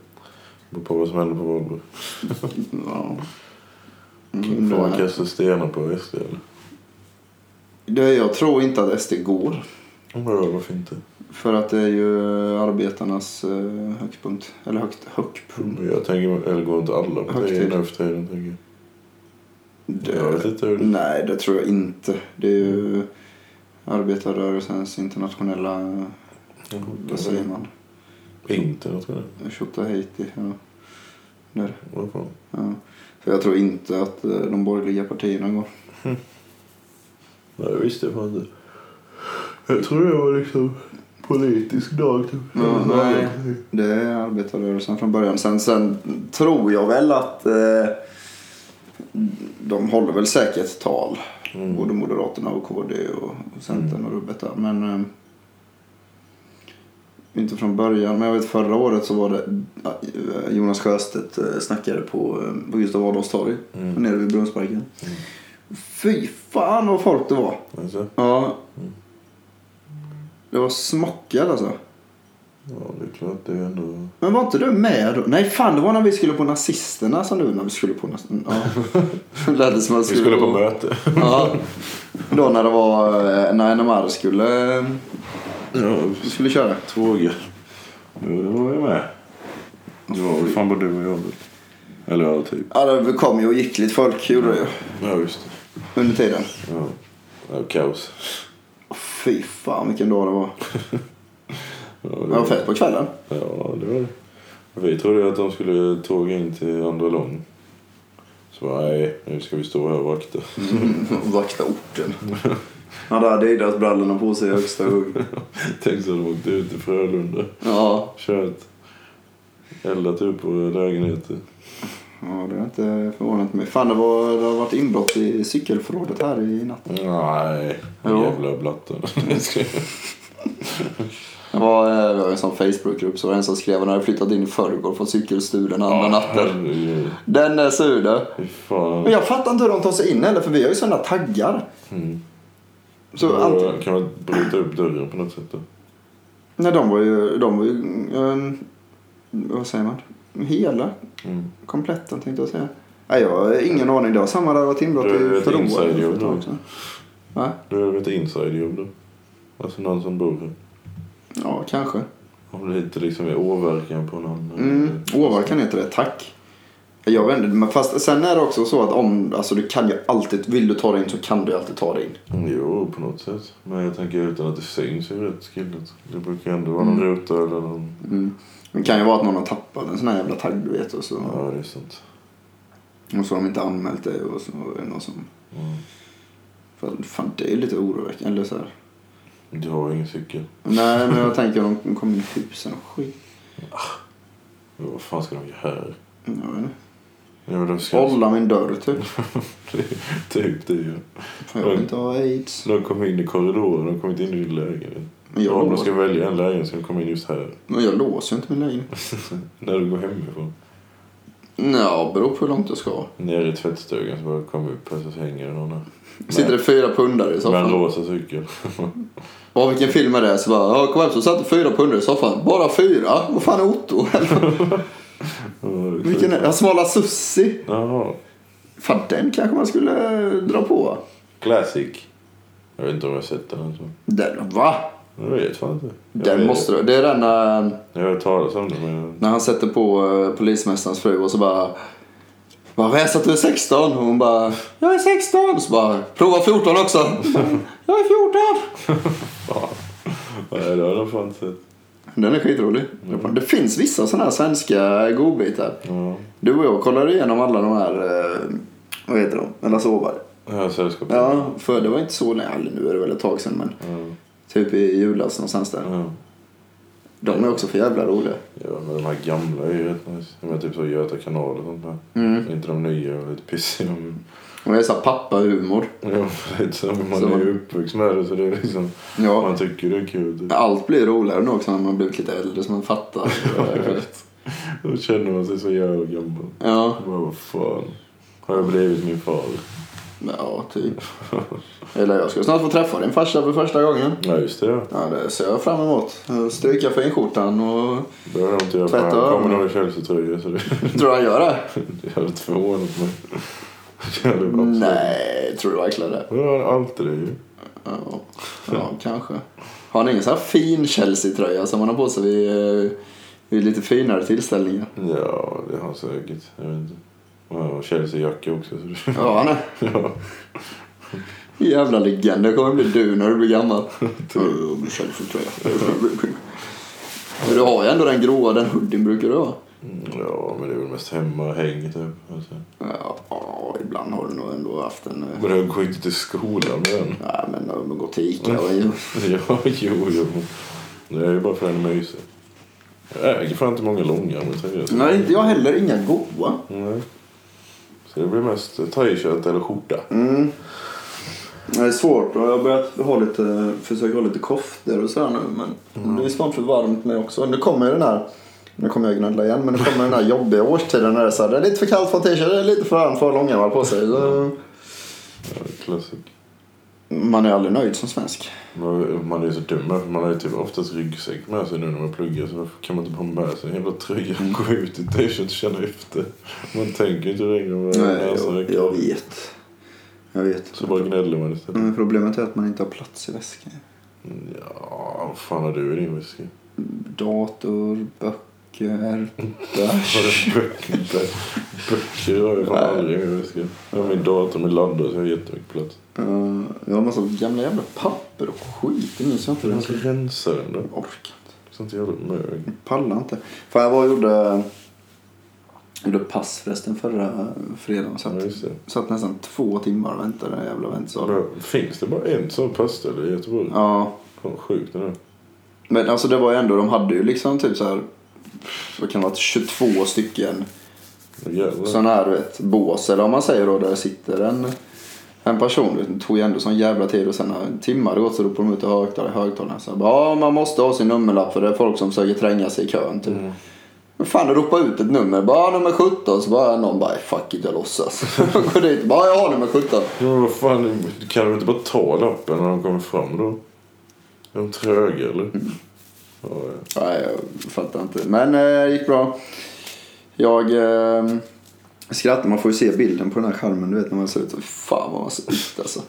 [SPEAKER 2] beror på vad som händer på Valborg.
[SPEAKER 1] Ja. Mm,
[SPEAKER 2] Får man
[SPEAKER 1] det-
[SPEAKER 2] kasta stenar på SD eller?
[SPEAKER 1] det, jag tror inte att SD går.
[SPEAKER 2] Ja, men varför inte?
[SPEAKER 1] För att det är ju arbetarnas eh, högpunkt. Eller högt, högpunkt.
[SPEAKER 2] Men Jag tänker, eller går inte alla partier
[SPEAKER 1] Högtid.
[SPEAKER 2] nu för tiden? Tänker jag. jag vet
[SPEAKER 1] Det,
[SPEAKER 2] inte hur det...
[SPEAKER 1] nej, det tror jag inte. Det är ju arbetarrörelsens internationella...
[SPEAKER 2] Mm.
[SPEAKER 1] Vad säger man?
[SPEAKER 2] Inte något med
[SPEAKER 1] Tjottaheiti. Ja. Där.
[SPEAKER 2] det. Vad fan?
[SPEAKER 1] Ja. Så jag tror inte att eh, de borgerliga partierna går.
[SPEAKER 2] Nej, det visste jag fan inte. Jag tror det var liksom politisk dag typ.
[SPEAKER 1] Ja, nej. Det är arbetarrörelsen från början. Sen, sen tror jag väl att eh, de håller väl säkert tal.
[SPEAKER 2] Mm.
[SPEAKER 1] Både Moderaterna och KD och Centern och rubbet där. Men eh, inte från början. Men jag vet förra året så var det eh, Jonas Sjöstedt eh, snackade på, eh, på Gustav Adolfs torg.
[SPEAKER 2] Mm.
[SPEAKER 1] Nere vid Brunnsparken. Fy fan vad folk det var.
[SPEAKER 2] Alltså,
[SPEAKER 1] Ja.
[SPEAKER 2] Mm.
[SPEAKER 1] Det var smockat alltså.
[SPEAKER 2] ja, det är klart det är ändå...
[SPEAKER 1] Men var inte du med då? Nej fan, det var när vi skulle på nazisterna som du när vi skulle på nazisterna. Ja. Lät [LAUGHS] det som att
[SPEAKER 2] Vi skulle på möte.
[SPEAKER 1] Ja. Då när det var eh, när NMR skulle, eh,
[SPEAKER 2] Ja,
[SPEAKER 1] skulle köra.
[SPEAKER 2] tåget. Jo, det var jag med. Det var väl fan bara du och jag. Eller ja, typ.
[SPEAKER 1] Ja, det kom ju och gick lite folk gjorde det ju
[SPEAKER 2] Ja, just det.
[SPEAKER 1] under tiden.
[SPEAKER 2] Ja. Ja, kaos.
[SPEAKER 1] Åh, Fy fan vilken dag det var.
[SPEAKER 2] Ja,
[SPEAKER 1] Det
[SPEAKER 2] det
[SPEAKER 1] var fest på kvällen.
[SPEAKER 2] Ja, det var det. Vi trodde att de skulle tåga in till andra lång. Så bara, nej, nu ska vi stå här och vakta. [LAUGHS]
[SPEAKER 1] Mm. [LAUGHS] Vakta [LAUGHS] orten. Han hade Adidas-brallorna på sig i högsta hugg.
[SPEAKER 2] Tänk så de åkte ut till Frölunda.
[SPEAKER 1] Ja.
[SPEAKER 2] Kört. Eldat upp på lägenheter.
[SPEAKER 1] ja, det har inte förvånat mig. Fan, det, var, det har varit inbrott i cykelförrådet här i natt.
[SPEAKER 2] Nej,
[SPEAKER 1] Jo.
[SPEAKER 2] jävla blatten. [LAUGHS]
[SPEAKER 1] Det var, eh, vi har en sån Facebookgrupp så var det en som skrev att han hade flyttat in i förrgår fått cykelstulen andra natten.
[SPEAKER 2] Herregud.
[SPEAKER 1] Den är sur du.
[SPEAKER 2] Fy
[SPEAKER 1] Men
[SPEAKER 2] fan.
[SPEAKER 1] jag fattar inte hur de tar sig in heller för vi har ju såna taggar.
[SPEAKER 2] Mm.
[SPEAKER 1] Så
[SPEAKER 2] Då
[SPEAKER 1] allt,
[SPEAKER 2] Kan man bryta upp dörren på något sätt då?
[SPEAKER 1] nej, de var ju, de var ju ehm, vad säger man, hela,
[SPEAKER 2] Mm.
[SPEAKER 1] kompletten tänkte jag säga. Nej jag har ingen aning, det var samma där det var inbrott
[SPEAKER 2] Det är
[SPEAKER 1] i
[SPEAKER 2] ett
[SPEAKER 1] Förloa
[SPEAKER 2] inside
[SPEAKER 1] för
[SPEAKER 2] jobb
[SPEAKER 1] ett tag
[SPEAKER 2] då.
[SPEAKER 1] sedan. Va?
[SPEAKER 2] Då är det väl ett inside-jobb då? Alltså någon som bor här.
[SPEAKER 1] Ja, kanske.
[SPEAKER 2] Om det inte liksom är åverkan på någon. eh,
[SPEAKER 1] Mm. Åverkan heter det, tack. Jag vet inte, men fast sen är det också så att om, alltså du kan ju alltid, vill du ta dig in så kan du ju alltid ta dig in.
[SPEAKER 2] Mm, Jo, på något sätt. Men jag tänker utan att det syns är det rätt skilligt. Det brukar ändå vara någon ruta eller någon...
[SPEAKER 1] Mm. Det kan ju vara att någon har tappat en sån här jävla tagg du vet och så,
[SPEAKER 2] Ja, det är sant.
[SPEAKER 1] och så har de inte anmält det och så är det någon som...
[SPEAKER 2] Mm.
[SPEAKER 1] Fan, fan det är lite oroväckande. Eller så här.
[SPEAKER 2] Du har ju ingen cykel.
[SPEAKER 1] Nej men jag tänker om de kommer in i husen och skit.
[SPEAKER 2] Men vad fan ska de göra här?
[SPEAKER 1] Jag vet inte.
[SPEAKER 2] Ja, men de ska...
[SPEAKER 1] Hålla min dörr typ.
[SPEAKER 2] [LAUGHS] typ det ju.
[SPEAKER 1] För jag vill inte ha aids.
[SPEAKER 2] De kom in i korridoren, de kom inte in i din lägenhet.
[SPEAKER 1] Men jag,
[SPEAKER 2] om de
[SPEAKER 1] låser,
[SPEAKER 2] ska välja en lägenhet ska de komma in just här.
[SPEAKER 1] men jag låser inte min lägenhet.
[SPEAKER 2] När du går hemifrån.
[SPEAKER 1] Nja, beror på hur långt jag ska.
[SPEAKER 2] Nere i tvättstugan så bara kom upp och så hänger det någon där.
[SPEAKER 1] Sitter det fyra pundare i
[SPEAKER 2] Med en
[SPEAKER 1] soffan.
[SPEAKER 2] rosa cykel. [LAUGHS]
[SPEAKER 1] Ja, vilken film är det? Så bara, ja, kom hem så satt det fyra pundare i soffan. Bara fyra? Vad fan är Otto? [LAUGHS] vilken är det? Smala Sussi?
[SPEAKER 2] Jaha.
[SPEAKER 1] Fan, den kanske man skulle dra på.
[SPEAKER 2] Classic. Jag vet inte om jag har sett den ens. men
[SPEAKER 1] Den, va?
[SPEAKER 2] Jag vet fan inte. Jag
[SPEAKER 1] Den
[SPEAKER 2] vet.
[SPEAKER 1] måste du. Det är den när...
[SPEAKER 2] Jag har hört talas om det men...
[SPEAKER 1] När han sätter på eh, polismästarens fru och så bara... Bara, vad är det så att du är 16? Och hon bara, jag är 16! Så bara, prova 14 [LAUGHS] också! jag är 14!
[SPEAKER 2] Fan. Nej, det har jag fan inte sett.
[SPEAKER 1] Den är skitrolig. Mm. Det finns vissa sådana här svenska godbitar.
[SPEAKER 2] Ja.
[SPEAKER 1] Du och jag kollade igenom alla de här, eh, vad heter de, eller sovar.
[SPEAKER 2] Jag har sällskap.
[SPEAKER 1] Ja, för det var inte så, nej nu är det väl ett tag sedan men
[SPEAKER 2] Ja.
[SPEAKER 1] typ i julas någonstans där.
[SPEAKER 2] Ja.
[SPEAKER 1] De är också för jävla roliga.
[SPEAKER 2] Ja, men de här gamla är ju rätt nice. De är typ så Göta kanal och sånt där.
[SPEAKER 1] Mm.
[SPEAKER 2] Inte de nya och lite pissiga. men-
[SPEAKER 1] Och det är såhär pappahumor.
[SPEAKER 2] Ja, lite så, men
[SPEAKER 1] Så
[SPEAKER 2] man är
[SPEAKER 1] man-
[SPEAKER 2] ju uppvuxen med det så det är liksom...
[SPEAKER 1] Ja.
[SPEAKER 2] Man tycker det är kul. Typ.
[SPEAKER 1] Allt blir roligare nu också när man blivit lite äldre så man fattar.
[SPEAKER 2] Då känner man sig så jävla gammal.
[SPEAKER 1] ja.
[SPEAKER 2] Jag bara, vad fan. Har jag blivit min far?
[SPEAKER 1] Ja, typ. Eller jag ska snart få träffa din farsa för första gången.
[SPEAKER 2] Ja, just det. ja.
[SPEAKER 1] Ja, det ser jag fram emot. Stryka finskjortan och...
[SPEAKER 2] Det har jag inte gjort.
[SPEAKER 1] Tvätta
[SPEAKER 2] Han kommer
[SPEAKER 1] öronen.
[SPEAKER 2] nog i Chelsea-tröja så det...
[SPEAKER 1] Tror du han gör det?
[SPEAKER 2] Det hade
[SPEAKER 1] [LAUGHS]
[SPEAKER 2] förvånat mig. Det hade varit absurt.
[SPEAKER 1] Nej, tror du verkligen det?
[SPEAKER 2] Men han har alltid det ju.
[SPEAKER 1] Ja, ja kanske. Har han ingen så här fin Chelsea-tröja som han har på sig vid, eh, vid lite finare tillställningar?
[SPEAKER 2] Ja, det har han säkert. Jag vet inte. Och Chelsea-jacka också. Så det...
[SPEAKER 1] [LAUGHS]
[SPEAKER 2] [LAUGHS]
[SPEAKER 1] Ja, han är.
[SPEAKER 2] ja.
[SPEAKER 1] Jävla legend. Det kommer bli du när du blir gammal. Ja, med Chelsea-tröja. Men Du har ju ändå den gråa, den hoodien brukar du ha.
[SPEAKER 2] ja, men det är väl mest hemmahäng typ. Alltså.
[SPEAKER 1] Ja, ja, ibland har du nog ändå haft en... eh,
[SPEAKER 2] Men jag går inte till skolan med den. [LAUGHS]
[SPEAKER 1] Nej men om man går till Ica och ju.
[SPEAKER 2] Ja, jo, jo. Det är ju bara för att den är mysig. Jag äger fan inte många långa, men seriöst.
[SPEAKER 1] Nej inte jag heller, inga goa.
[SPEAKER 2] Nej. Så det blir mest thai-kött eller skjorta.
[SPEAKER 1] Mm. Det är svårt och jag har börjat ha lite, försöka ha lite koftor och sådär nu men det är snart för varmt med också. Nu kommer ju den här, nu kommer jag gnälla igen, men nu kommer den här jobbiga årstiden när det är så här, det är lite för kallt för en t-shirt, det är lite för varmt för att ha långärmar på sig. Så
[SPEAKER 2] Ja, Classic.
[SPEAKER 1] man är aldrig nöjd som svensk.
[SPEAKER 2] Man man är ju så dum här, för man har ju typ oftast ryggsäck med sig nu när man pluggar så varför kan man inte bara ha med sig en jävla tröja och gå ut i t-shirt och känna efter? Man tänker inte längre vad näsan
[SPEAKER 1] jag,
[SPEAKER 2] räcker.
[SPEAKER 1] jag vet. Jag vet.
[SPEAKER 2] Så bara gnäller man istället.
[SPEAKER 1] Men problemet är att man inte har plats i väskan.
[SPEAKER 2] Ja, vad fan har du i din whisky?
[SPEAKER 1] Dator, böcker,
[SPEAKER 2] Har [LAUGHS]
[SPEAKER 1] [LAUGHS]
[SPEAKER 2] du böcker? där? Böcker har jag fan
[SPEAKER 1] Nej.
[SPEAKER 2] aldrig i min whisky. Jag har min dator, min laddare så jag har jättemycket plats.
[SPEAKER 1] Uh, jag har massa gamla jävla papper och skit. Det minns jag inte.
[SPEAKER 2] Du
[SPEAKER 1] Jag
[SPEAKER 2] måste rensa den då.
[SPEAKER 1] orkar inte.
[SPEAKER 2] Sånt jävla mög.
[SPEAKER 1] Pallar inte. Fan, jag var och gjorde, gjorde pass förresten förra fredagen.
[SPEAKER 2] Ja,
[SPEAKER 1] Satt,
[SPEAKER 2] just det.
[SPEAKER 1] satt nästan två timmar och väntade i den jävla väntsalen.
[SPEAKER 2] Men Finns det bara en sån pastställe i Göteborg?
[SPEAKER 1] Ja.
[SPEAKER 2] Fan sjukt det där.
[SPEAKER 1] Men alltså det var ju ändå, de hade ju liksom typ så här, vad kan det vara, 22 stycken
[SPEAKER 2] Jävlar.
[SPEAKER 1] sådana här du vet, bås. Eller om man säger då, där sitter en, en person. vet, Det tog ju ändå sån jävla tid och sen när timmar hade gått så ropade de ut i högtalare- högtalarna. Så här, bara, ja, man måste ha sin nummerlapp för det är folk som försöker tränga sig i kön. Typ. Men fan, ropa ut ett nummer. Bara nummer 17. Så bara någon bara, fuck it, jag låtsas. [LAUGHS] Går dit. Bara, jag har nummer 17.
[SPEAKER 2] Ja, Men vad fan, kan du inte bara ta lappen när de kommer fram då? Är de tröga eller?
[SPEAKER 1] Mm.
[SPEAKER 2] Ja, ja.
[SPEAKER 1] Nej, jag fattar inte. Men eh, det gick bra. Jag eh, skrattar. Man får ju se bilden på den här skärmen. Du vet när man ser ut. Fy Fan vad man ser ut alltså.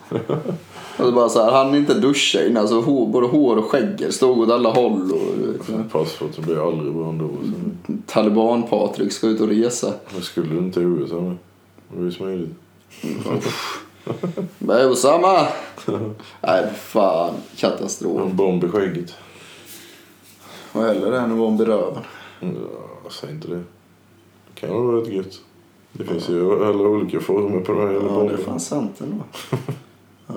[SPEAKER 1] alltså bara så här, han inte duscha innan. Alltså, hår, både hår och skägg stod åt alla håll. Och, eh, du vet,
[SPEAKER 2] Passport så blir jag aldrig bra ändå.
[SPEAKER 1] Mm.
[SPEAKER 2] Så.
[SPEAKER 1] Taliban-Patrik ska ut och resa.
[SPEAKER 2] Jag skulle inte i USA med. Det var ju smidigt.
[SPEAKER 1] Men Osama! Nej, fan. Katastrof.
[SPEAKER 2] En bomb i skägget.
[SPEAKER 1] Vad hellre det än att bomb i röven.
[SPEAKER 2] Mm, Ja, säg inte det. Det kan vara rätt gött. Det finns ju alla olika former på de här jävla
[SPEAKER 1] Ja, det är
[SPEAKER 2] bomberna.
[SPEAKER 1] fan sant ändå. Ja.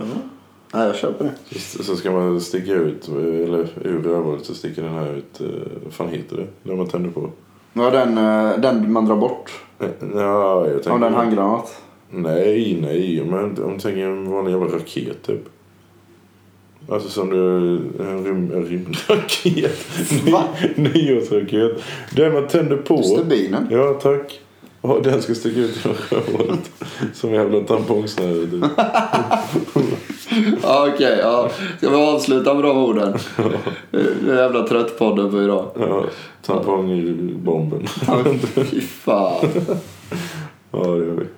[SPEAKER 1] Nej, jag köper det.
[SPEAKER 2] Så så ska man sticka ut, eller ur rövhålet så sticker den här ut, eh, vad fan heter det? När man tänder på.
[SPEAKER 1] Ja, den, eh, den man drar bort.
[SPEAKER 2] Ja, jag tänker...
[SPEAKER 1] Om den handgranat.
[SPEAKER 2] Nej, nej. Men om du tänker en vanlig jävla raket typ. Alltså som du... En, rym, en rymdraket.
[SPEAKER 1] Va?
[SPEAKER 2] Ny- Nyårsraket. Den man tänder på.
[SPEAKER 1] Stubinen.
[SPEAKER 2] Ja, tack. Och den ska sticka ut genom rövhålet. Som jävla tampongsnöre. typ.
[SPEAKER 1] [LAUGHS] Ja, okej. ja. Ska vi avsluta med de orden? Nu är jag jävla trött podden för idag.
[SPEAKER 2] Ja, tampong i bomben.
[SPEAKER 1] Fy fan.
[SPEAKER 2] Ja, det gör vi.